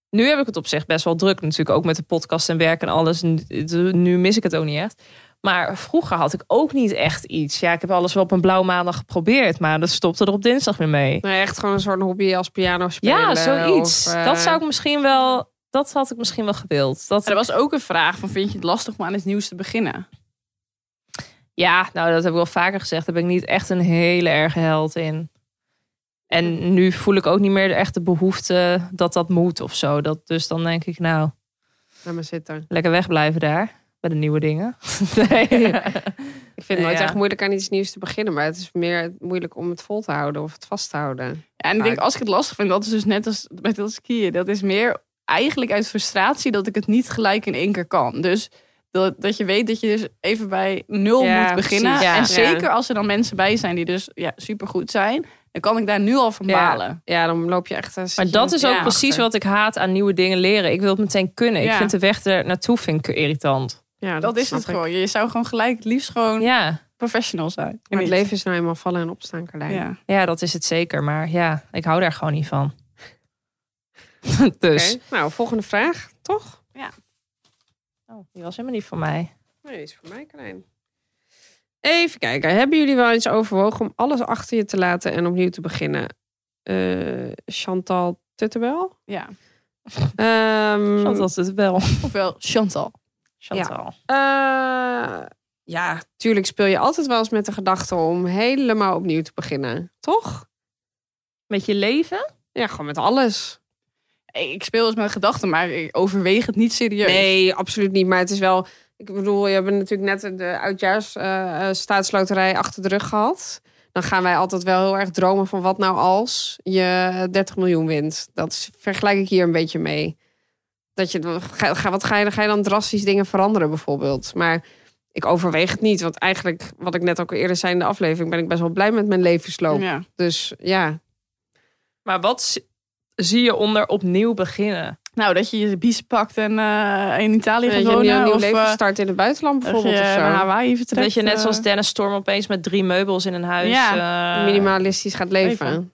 D: Nu heb ik het op zich best wel druk, natuurlijk ook met de podcast en werk en alles. N- d- Nu mis ik het ook niet echt. Maar vroeger had ik ook niet echt iets. Ja, ik heb alles wel op een blauw maandag geprobeerd, maar dat stopte er op dinsdag weer mee.
F: Nee, echt gewoon een soort hobby als piano spelen.
D: Ja, zoiets.
F: of, eh,
D: Dat zou ik misschien wel. Dat had ik misschien wel gewild. Dat,
E: Er was ook een vraag van, vind je het lastig om aan iets nieuws te beginnen?
D: ja, nou, dat heb ik wel vaker gezegd. Daar ben ik niet echt een hele erge held in. En nu voel ik ook niet meer de echte behoefte dat dat moet of zo. Dat, dus dan denk ik, nou,
F: Laat maar zitten.
D: lekker wegblijven daar. Bij de nieuwe dingen. nee.
F: Ik vind het nooit
D: Ja.
F: echt moeilijk aan iets nieuws te beginnen. Maar het is meer moeilijk om het vol te houden of het vast te houden.
E: Ja, en ik denk, als ik het lastig vind, dat is dus net als met dat skiën. Dat is meer eigenlijk uit frustratie dat ik het niet gelijk in één keer kan. Dus Dat, dat je weet dat je dus even bij nul
F: Ja,
E: moet beginnen.
F: precies. Ja.
E: en
F: Ja.
E: zeker als er dan mensen bij zijn die dus ja, supergoed zijn. Dan kan ik daar nu al van balen.
F: Ja, dan loop je echt... eh, zit
D: Maar
F: je
D: dat is ook
E: Ja,
D: precies
F: achter.
D: wat ik haat aan nieuwe dingen leren. Ik wil het meteen kunnen. Ik
E: Ja.
D: vind de weg er naartoe vind ik irritant.
F: Ja,
E: Dat, is
F: snap
E: het
F: ik.
E: gewoon. Je zou gewoon gelijk het liefst gewoon
D: Ja.
E: professional zijn.
F: Maar het leven is nou eenmaal vallen en opstaan, Carlijn.
E: Ja.
D: ja, dat is het zeker. Maar ja, ik hou daar gewoon niet van. dus.
F: Oké, Nou, volgende vraag, toch?
D: Oh, die was helemaal niet voor mij.
F: Nee, die is voor mij, Carlijn. Even kijken. Hebben jullie wel eens overwogen om alles achter je te laten en opnieuw te beginnen? Eh, Chantal Tuttebel?
E: ja.
F: Ehm,
D: Dat was het wel.
E: Ofwel Chantal.
D: Chantal.
F: eh, ja, tuurlijk speel je altijd wel eens met de gedachte om helemaal opnieuw te beginnen. Toch?
D: Met je leven?
F: Ja, gewoon met alles.
E: Ik speel eens met gedachten, maar ik overweeg het niet serieus.
F: Nee, absoluut niet. Maar het is wel... Ik bedoel, je hebt natuurlijk net de oudjaars eh, eh, staatsloterij achter de rug gehad. Dan gaan wij altijd wel heel erg dromen van wat nou als je 30 miljoen wint. Dat is- vergelijk ik hier een beetje mee. Dat je, ga, ga- wat ga je, ga je dan drastisch dingen veranderen bijvoorbeeld? Maar ik overweeg het niet. Want eigenlijk, wat ik net ook al eerder zei in de aflevering... ben ik best wel blij met mijn levensloop.
E: Ja.
F: Dus ja,
D: Maar wat zi- zie je onder opnieuw beginnen?
E: Nou, dat je je bies pakt en eh, in Italië
F: dat je
E: gaat
F: een nieuw,
E: wonen.
F: nieuw
E: of,
F: leven
E: eh,
F: start in het buitenland
E: dat je
F: bijvoorbeeld. of zo.
E: naar Hawaii vertrekt.
D: dat je net
E: eh,
D: zoals Dennis Storm opeens met drie meubels in een huis
E: nou,
D: eh,
F: Minimalistisch gaat leven.
E: Leven.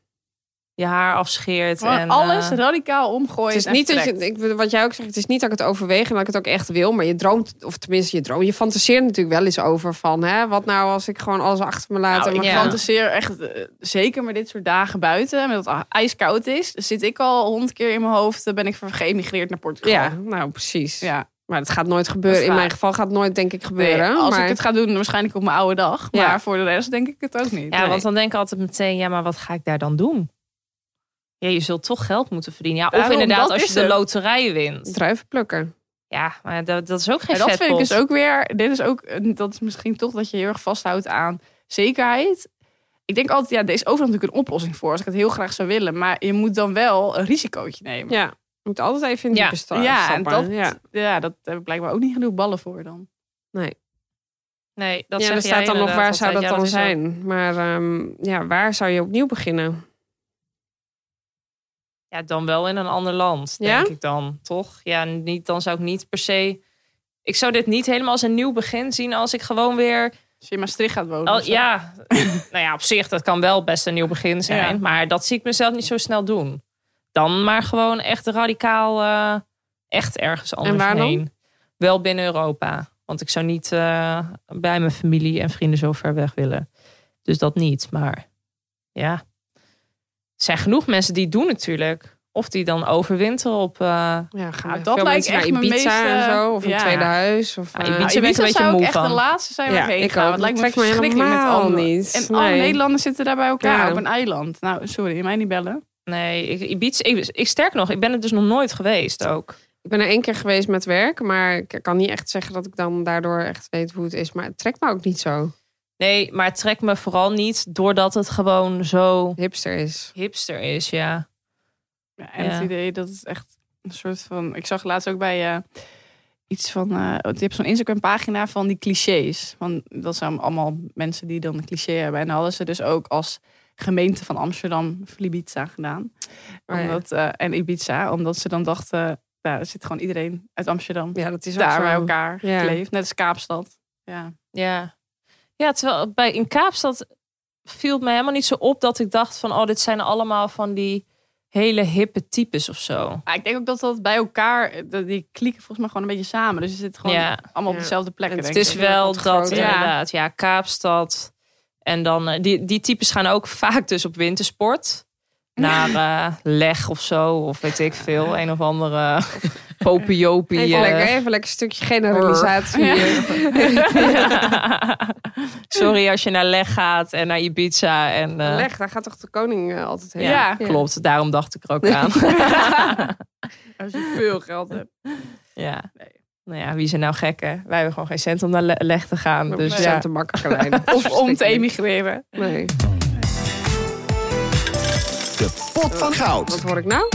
D: je haar afscheert.
E: gewoon
D: en,
E: alles
D: eh,
E: radicaal omgooien.
F: Het is
E: en
F: niet dat je,
E: vertrekt.
F: ik, bedoel, wat jij ook zegt, het is niet dat ik het overweeg en dat ik het ook echt wil, maar je droomt, of tenminste je droomt, je fantaseert natuurlijk wel eens over van, hè, wat nou als ik gewoon alles achter me laat
E: Nou,
F: en
E: ik
F: mijn
D: ja.
F: klanten-
E: fantaseer echt, eh, zeker met dit soort dagen buiten, met dat het ijskoud is, zit ik al honderd keer in mijn hoofd, eh, ben ik geëmigreerd naar Portugal.
F: ja, nou precies.
E: ja.
F: Maar het gaat nooit
E: Dat
F: gebeuren.
E: is
F: In
E: waar.
F: mijn geval gaat het nooit, denk ik,
E: Nee,
F: gebeuren.
E: als
F: maar
E: ik het ga doen, waarschijnlijk op mijn oude dag. Maar
F: Ja.
E: voor de rest denk ik het ook niet.
D: Ja,
E: Nee.
D: want dan denk ik altijd meteen, ja, maar wat ga ik daar dan doen? Ja, je zult toch geld moeten verdienen. Ja, of
E: Daarom,
D: inderdaad
E: dat
D: als je
E: is
D: de
E: het.
D: loterij wint.
F: druiven plukken.
D: Ja, maar dat, dat is ook geen
E: En dat vind ik
D: vetpot.
E: dus ook weer. Dit is ook. Dat is misschien toch dat je heel erg vasthoudt aan zekerheid. Ik denk altijd, ja, er is overal natuurlijk een oplossing voor. Als ik het heel graag zou willen. Maar je moet dan wel een risicootje nemen.
F: Ja, je moet altijd even in de
D: Ja.
F: diepe sta-
E: Ja, en
F: stappen.
E: dat-
F: ja.
E: Ja, dat heb ik blijkbaar ook niet genoeg ballen voor dan.
D: Nee, dat
F: ja,
D: zeg
F: er
D: jij
F: staat dan nog
D: inderdaad
F: waar zou dat
D: altijd. Ja,
F: dan
D: is ook-
F: zijn. Maar ehm, ja, waar zou je opnieuw beginnen?
D: Ja, dan wel in een ander land, denk
F: Ja?
D: ik dan. Toch? Ja, niet, dan zou ik niet per se... Ik zou dit niet helemaal als een nieuw begin zien als ik gewoon weer
E: Als je in Maastricht gaat wonen.
D: Al-
E: of zo.
D: Oh, ja, nou ja, op zich, dat kan wel best een nieuw begin zijn.
E: Ja.
D: Maar dat zie ik mezelf niet zo snel doen. Dan maar gewoon echt radicaal, eh, echt ergens anders
F: waar dan?
D: heen. Wel binnen Europa. Want ik zou niet eh, bij mijn familie en vrienden zo ver weg willen. Dus dat niet. Maar ja, er zijn genoeg mensen die het doen natuurlijk. Of die dan overwinteren op... eh
F: Ja, gaan
E: Nou,
F: we
E: dat
F: veel
E: lijkt
F: mensen
E: echt
F: naar
E: mijn
F: Ibiza
E: meest,
F: en
E: eh,
F: zo? Of
E: ja.
F: een tweede huis? Of,
D: Ja,
F: eh,
D: Ibiza ben
E: Nou,
D: ik
E: Ibiza
D: een beetje
E: zou
D: moe
E: echt
D: van.
E: de laatste zijn
F: Ja,
E: waar ik heen
F: ik
E: ga.
F: ook.
E: Want het lijkt me
F: Trekt me
E: verschrikkelijk met
F: helemaal
E: allemaal.
F: niet.
E: En alle
F: Nee.
E: Nederlanders zitten daar bij elkaar
F: Ja.
E: op een eiland. Nou, sorry, mij niet bellen.
D: nee, ik, Ibiza, ik, ik sterk nog, ik ben het dus nog nooit geweest ook.
F: Ik ben er één keer geweest met werk, maar ik kan niet echt zeggen dat ik dan daardoor echt weet hoe het is. Maar het trekt me ook niet zo
D: Nee, maar het trekt me vooral niet doordat het gewoon zo
F: hipster is.
D: hipster is, ja.
E: Ja, en
D: Ja.
E: het idee dat het echt een soort van. Ik zag laatst ook bij eh, iets van. eh je hebt zo'n Instagram-pagina van die clichés. Want dat zijn allemaal mensen die dan een cliché hebben. En dan hadden ze dus ook als gemeente van Amsterdam Ibiza gedaan.
F: Oh ja.
E: omdat, eh, en Ibiza, omdat ze dan dachten. Nou, er zit gewoon iedereen uit Amsterdam
F: Ja, dat is ook
E: daar
F: zo.
E: bij elkaar
F: Ja.
E: gekleefd. Net als Kaapstad. Ja.
D: Ja, ja terwijl bij, in Kaapstad viel het mij helemaal niet zo op dat ik dacht van... oh, dit zijn allemaal van die hele hippe types of zo.
E: Maar Ah, ik denk ook dat dat bij elkaar, eh, dat die klikken volgens mij gewoon een beetje samen. Dus je zit gewoon
D: Ja.
E: allemaal op
F: Ja.
E: dezelfde plekken.
F: En
E: denk
D: Het
E: ik.
D: is wel
F: wat
D: dat,
F: groter.
E: Ja.
D: inderdaad. Ja, Kaapstad. En dan, eh, die, die types gaan ook vaak dus op wintersport. Naar eh, Leg of zo, of weet ik veel. Een of andere popiopie.
F: Even,
D: eh,
F: lekker, even lekker een stukje generalisatie.
D: Sorry als je naar Leg gaat en naar Ibiza. En, eh,
F: Leg, daar gaat toch de koning eh, altijd heen?
D: Ja, klopt. Daarom dacht ik er ook aan.
E: Als je veel geld hebt.
D: ja. Nou ja, wie zijn nou gekken? Wij hebben gewoon geen cent om naar Le- Leg te gaan.
F: Dus
D: dus
F: ja.
D: ja.
F: te makkelijk lijn. Dat is
E: Of om te
F: verschrikkelijk.
E: emigreren.
F: Nee,
C: De pot van goud.
F: wat hoor ik nou?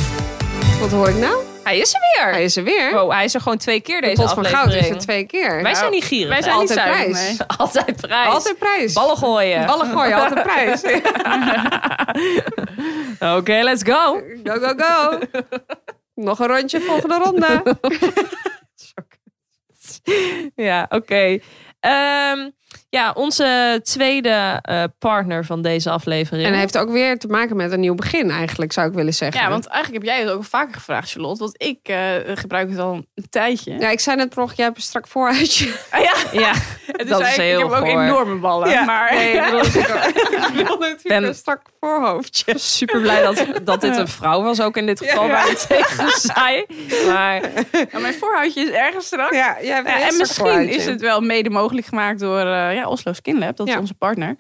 F: Wat hoor ik nou?
D: Hij is er weer.
F: Hij is er weer.
D: Wow, hij is er gewoon twee keer
F: de
D: Oh, deze
F: pot van
D: aflevering.
F: goud is er twee keer. Nou,
D: Wij zijn niet gierig.
E: Wij
D: hè?
E: zijn niet
F: altijd
E: zuinig,
F: prijs.
E: nee.
D: Altijd prijs.
F: Altijd prijs.
D: Ballen gooien.
F: Ballen gooien, altijd prijs.
D: Oké, let's go.
F: Go, go, go. Nog een rondje, volgende ronde.
D: Ja, oké. Ehm, ja, onze tweede eh, partner van deze aflevering.
F: En hij heeft ook weer te maken met een nieuw begin eigenlijk, zou ik willen zeggen.
E: Ja, want eigenlijk heb jij het ook vaker gevraagd, Charlotte. Want ik eh, gebruik het al een tijdje.
F: Ja, ik zei net per ongeluk, jij hebt een strak vooruitje.
E: Ah, ja.
D: Ja,
E: Het
D: dat is
E: eigenlijk-
D: heel
E: Ik heb ook
D: goor.
E: enorme ballen. Maar
F: Nee, ik bedoel, ik bedoel natuurlijk
D: Ben-
F: een strak voorhoofdje.
D: super blij dat, dat dit een vrouw was, ook in dit geval,
F: Ja.
D: waar ik tegen zei. Maar
E: Ja, mijn voorhoudje is erg strak.
F: Ja, jij hebt
E: Ja,
F: een
E: en
F: strak
E: misschien
F: voorhoofdje.
E: is het wel mede mogelijk gemaakt door eh, ja, Oslo Skin Lab. Dat
F: Ja.
E: is onze partner.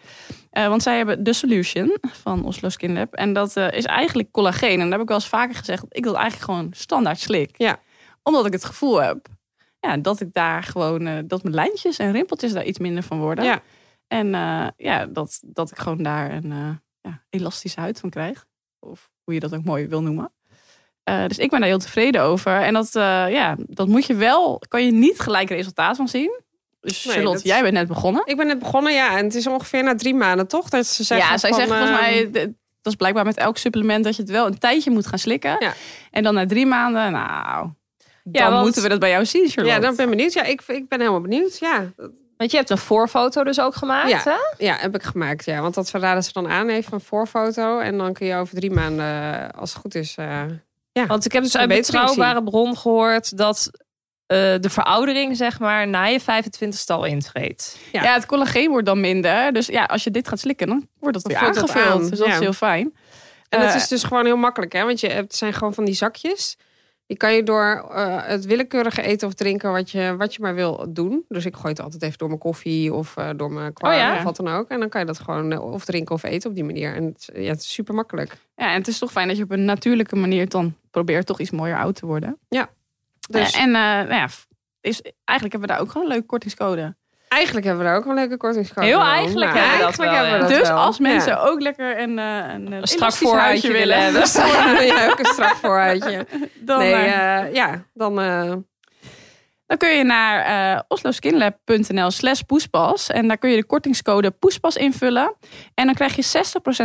E: Eh, want zij hebben de Solution van Oslo Skin Lab. En dat eh, is eigenlijk collageen. En dat heb ik wel eens vaker gezegd. dat Ik dat eigenlijk gewoon standaard slik.
F: Ja.
E: Omdat ik het gevoel heb ja, dat ik daar gewoon... eh, dat mijn lijntjes en rimpeltjes daar iets minder van worden.
F: Ja.
E: En eh, ja, dat, dat ik gewoon daar een eh, ja, elastische huid van krijg. Of hoe je dat ook mooi wil noemen. Eh, dus ik ben daar heel tevreden over. En dat, eh, ja, dat moet je wel, kan je niet gelijk resultaat van zien. Dus
F: Nee,
E: Charlotte,
F: dat-
E: jij bent net begonnen.
F: Ik ben net begonnen, ja. En het is ongeveer na drie maanden, toch? Dat ze zeggen
E: ja, zij
F: van,
E: zegt volgens
F: eh,
E: mij, d- dat is blijkbaar met elk supplement, dat je het wel een tijdje moet gaan slikken.
F: Ja.
E: En dan na drie maanden, nou,
D: Ja,
E: dan
D: want-
E: moeten we dat bij jou zien, Charlotte.
F: Ja, dan ben ik benieuwd. Ja, ik, ik ben helemaal benieuwd. Ja, dat-
D: Want je hebt een voorfoto dus ook gemaakt,
F: Ja.
D: hè?
F: ja, heb ik gemaakt. Ja, want dat raden ze dan aan even een voorfoto. En dan kun je over drie maanden, eh, als het goed is... eh,
D: Want ik heb dus
F: Een
D: uit
F: betere
D: betrouwbare bron gehoord dat eh, de veroudering, zeg maar, na je 25ste al intreedt.
E: ja. het collageen wordt dan minder. Dus ja, als je dit gaat slikken, dan wordt dat
F: Dan
E: weer
F: voelt dat
E: aangevuld.
F: aan,
E: Dus dat
F: ja.
E: is heel fijn.
F: En het
E: Eh,
F: is dus gewoon heel makkelijk, hè? Want je hebt, het zijn gewoon van die zakjes. Die kan je door eh, het willekeurige eten of drinken wat je, wat je maar wil doen. Dus ik gooi het altijd even door mijn koffie of eh, door mijn kwark
E: Oh ja.
F: of wat dan ook. En dan kan je dat gewoon eh, of drinken of eten op die manier. En het, ja, het is super makkelijk.
E: Ja, en het is toch fijn dat je op een natuurlijke manier dan probeert toch iets mooier oud te worden.
F: Dus
E: Eh, En eh, nou ja, f- is, eigenlijk hebben we daar ook gewoon een leuke kortingscode.
F: eigenlijk hebben we daar ook een leuke kortingscode.
D: Heel
F: om.
D: eigenlijk
F: Nou,
D: hebben we dat
F: eigenlijk
D: wel,
F: hebben we
D: ja.
F: dat
E: dus
F: wel.
E: als mensen
F: Ja.
E: ook lekker een, eh, een, eh,
D: Een strak
E: elastisch
D: voorhuidje
E: huidje
D: willen hebben.
F: ja, ook een strak vooruitje.
E: Dan,
F: Nee,
E: eh,
F: eh, ja, dan... eh,
E: dan kun je naar eh osloskinlab.nl slash poespas. En daar kun je de kortingscode poespas invullen. En dan krijg je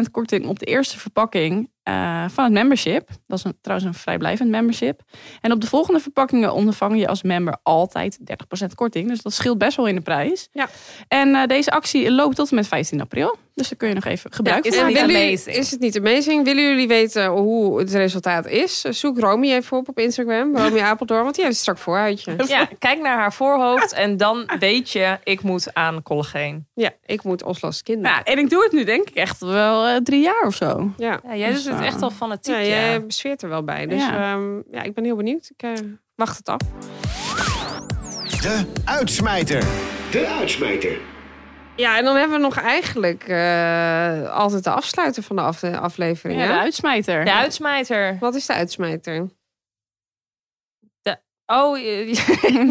E: 60% korting op de eerste verpakking eh, van het membership. Dat is een, trouwens een vrijblijvend membership. En op de volgende verpakkingen ondervang je als member altijd 30% korting. Dus dat scheelt best wel in de prijs.
F: Ja.
E: En eh, deze actie loopt tot en met 15 april. Dus daar kun je nog even gebruik
D: Ja,
E: van
D: het
F: En
E: maken.
D: niet
F: willen
D: amazing?
F: jullie- Is het niet amazing? Willen jullie weten hoe het resultaat is? Zoek Romy even op op Instagram. Romy Apeldoorn, want die heeft een strak vooruitje.
D: Ja, kijk naar haar voorhoofd en dan weet je, ik moet aan collageen.
F: Ja, ik moet Oslo's kinderen.
E: Nou, en ik doe het nu denk ik echt wel eh, drie jaar of zo.
F: Ja.
D: Ja, jij doet het echt al fanatiek,
F: Ja,
D: ja.
F: jij besfeert er wel bij. Dus
E: Ja.
F: ja, ja ik ben heel benieuwd. Ik eh, wacht het af.
C: De uitsmijter.
G: De uitsmijter.
F: Ja, en dan hebben we nog eigenlijk eh, altijd de afsluiter van de af- aflevering.
E: Ja,
F: hè?
E: de uitsmijter.
D: De uitsmijter.
F: Wat is de uitsmijter?
D: Oh, je,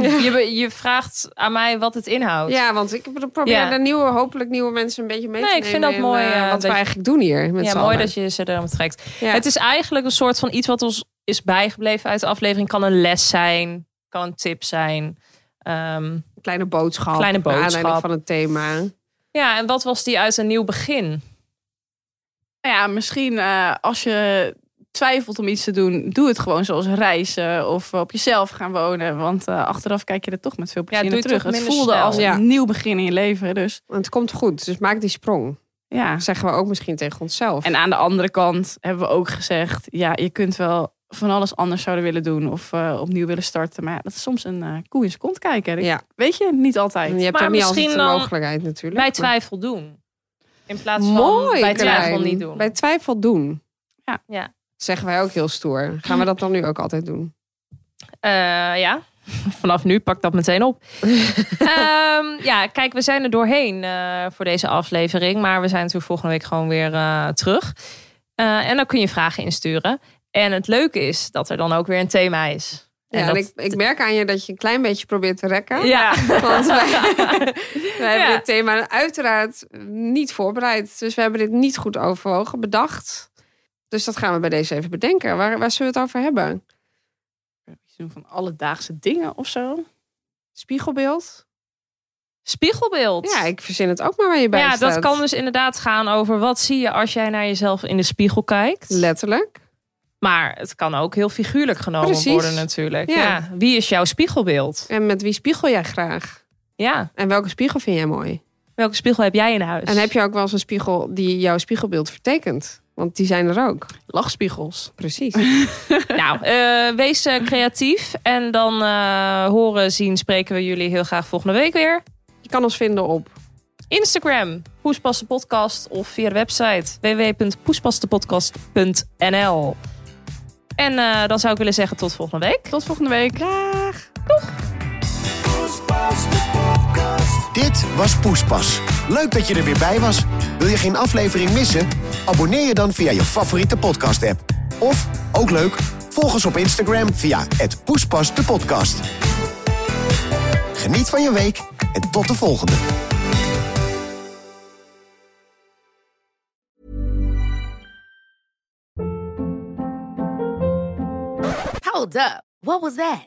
D: je- je, be- je vraagt aan mij wat het inhoudt.
F: Ja, want ik probeer
D: Ja.
F: de nieuwe, hopelijk nieuwe mensen een beetje mee
D: Nee,
F: te
D: ik vind
F: nemen
D: dat
F: in,
D: mooi,
F: eh,
D: eh,
F: wat
D: dat
F: we
D: je-
F: eigenlijk doen hier met
D: Ja,
F: z'n
D: mooi
F: allen.
D: dat je ze daarom trekt.
F: Ja.
D: Het is eigenlijk een soort van iets wat ons is bijgebleven uit de aflevering. Kan een les zijn, kan een tip zijn. Ehm,
F: Kleine boodschap.
D: Kleine
F: naar Aanleiding
D: boodschap.
F: van het thema.
D: ja, en wat was die uit een nieuw begin?
E: Nou ja, misschien eh, als je twijfelt om iets te doen, doe het gewoon zoals reizen of op jezelf gaan wonen. Want eh, achteraf kijk je er toch met veel plezier
D: doe
E: naar
D: het
E: terug.
D: toch
E: Het
D: minder
E: voelde
D: snel.
E: als
F: Ja.
E: een nieuw begin in je leven. Dus
F: Want Het komt goed, dus maak die sprong.
E: ja.
F: Dat zeggen we ook misschien tegen onszelf.
E: En aan de andere kant hebben we ook gezegd, ja, je kunt wel van alles anders zouden willen doen of eh, opnieuw willen starten. Maar ja, dat is soms een eh, koe in zijn kont kijken. Dat
F: ja,
E: Weet je, niet
F: en
E: altijd.
F: je hebt
D: Maar
F: ook niet
D: misschien
F: altijd de
D: dan
F: mogelijkheid natuurlijk.
D: Bij
F: Maar-
D: twijfel doen. In plaats van
F: Mooi,
D: bij twijfel
F: Carlijn.
D: niet doen.
F: Bij twijfel doen.
E: Ja.
D: Ja.
F: Zeggen wij ook heel stoer. Gaan we dat dan nu ook altijd doen?
D: Eh, ja, vanaf nu pak ik dat meteen op. Ehm, ja, kijk, we zijn er doorheen eh, voor deze aflevering. Maar we zijn natuurlijk volgende week gewoon weer eh, terug. Eh, en dan kun je vragen insturen. En het leuke is dat er dan ook weer een thema is.
F: Ja, en
D: dat-
F: ik, ik merk aan je dat je een klein beetje probeert te rekken.
D: ja.
F: Want wij, wij hebben
D: Ja.
F: dit thema uiteraard niet voorbereid. Dus we hebben dit niet goed overwogen, bedacht. Dus dat gaan we bij deze even bedenken. Waar, waar zullen we het over hebben?
E: doen van alledaagse dingen of zo.
F: Spiegelbeeld?
D: Spiegelbeeld.
F: Ja, ik verzin het ook maar waar je bij
D: ja,
F: staat.
D: dat kan dus inderdaad gaan over wat zie je als jij naar jezelf in de spiegel kijkt.
F: Letterlijk.
D: maar het kan ook heel figuurlijk genomen
F: Precies.
D: worden natuurlijk.
F: Ja.
D: Ja. Wie is jouw spiegelbeeld?
F: En met wie spiegel jij graag?
D: Ja.
F: En welke spiegel vind jij mooi?
D: Welke spiegel heb jij in huis?
F: En heb je ook wel eens een spiegel die jouw spiegelbeeld vertekent? Want die zijn er ook.
E: Lachspiegels.
F: Precies.
D: Nou, eh, wees eh, creatief. En dan eh, horen, zien, spreken we jullie heel graag volgende week weer.
F: Je kan ons vinden op
D: Instagram, Poespas de Podcast of via de website www.poespasdepodcast.nl. En eh, dan zou ik willen zeggen tot volgende week.
E: Tot volgende week.
C: Dit was Poespas. Leuk dat je er weer bij was. Wil je geen aflevering missen? Abonneer je dan via je favoriete podcast-app. Of, ook leuk, volg ons op Instagram via het Poespas de podcast. Geniet van je week en tot de volgende.
G: Hold up. What was that?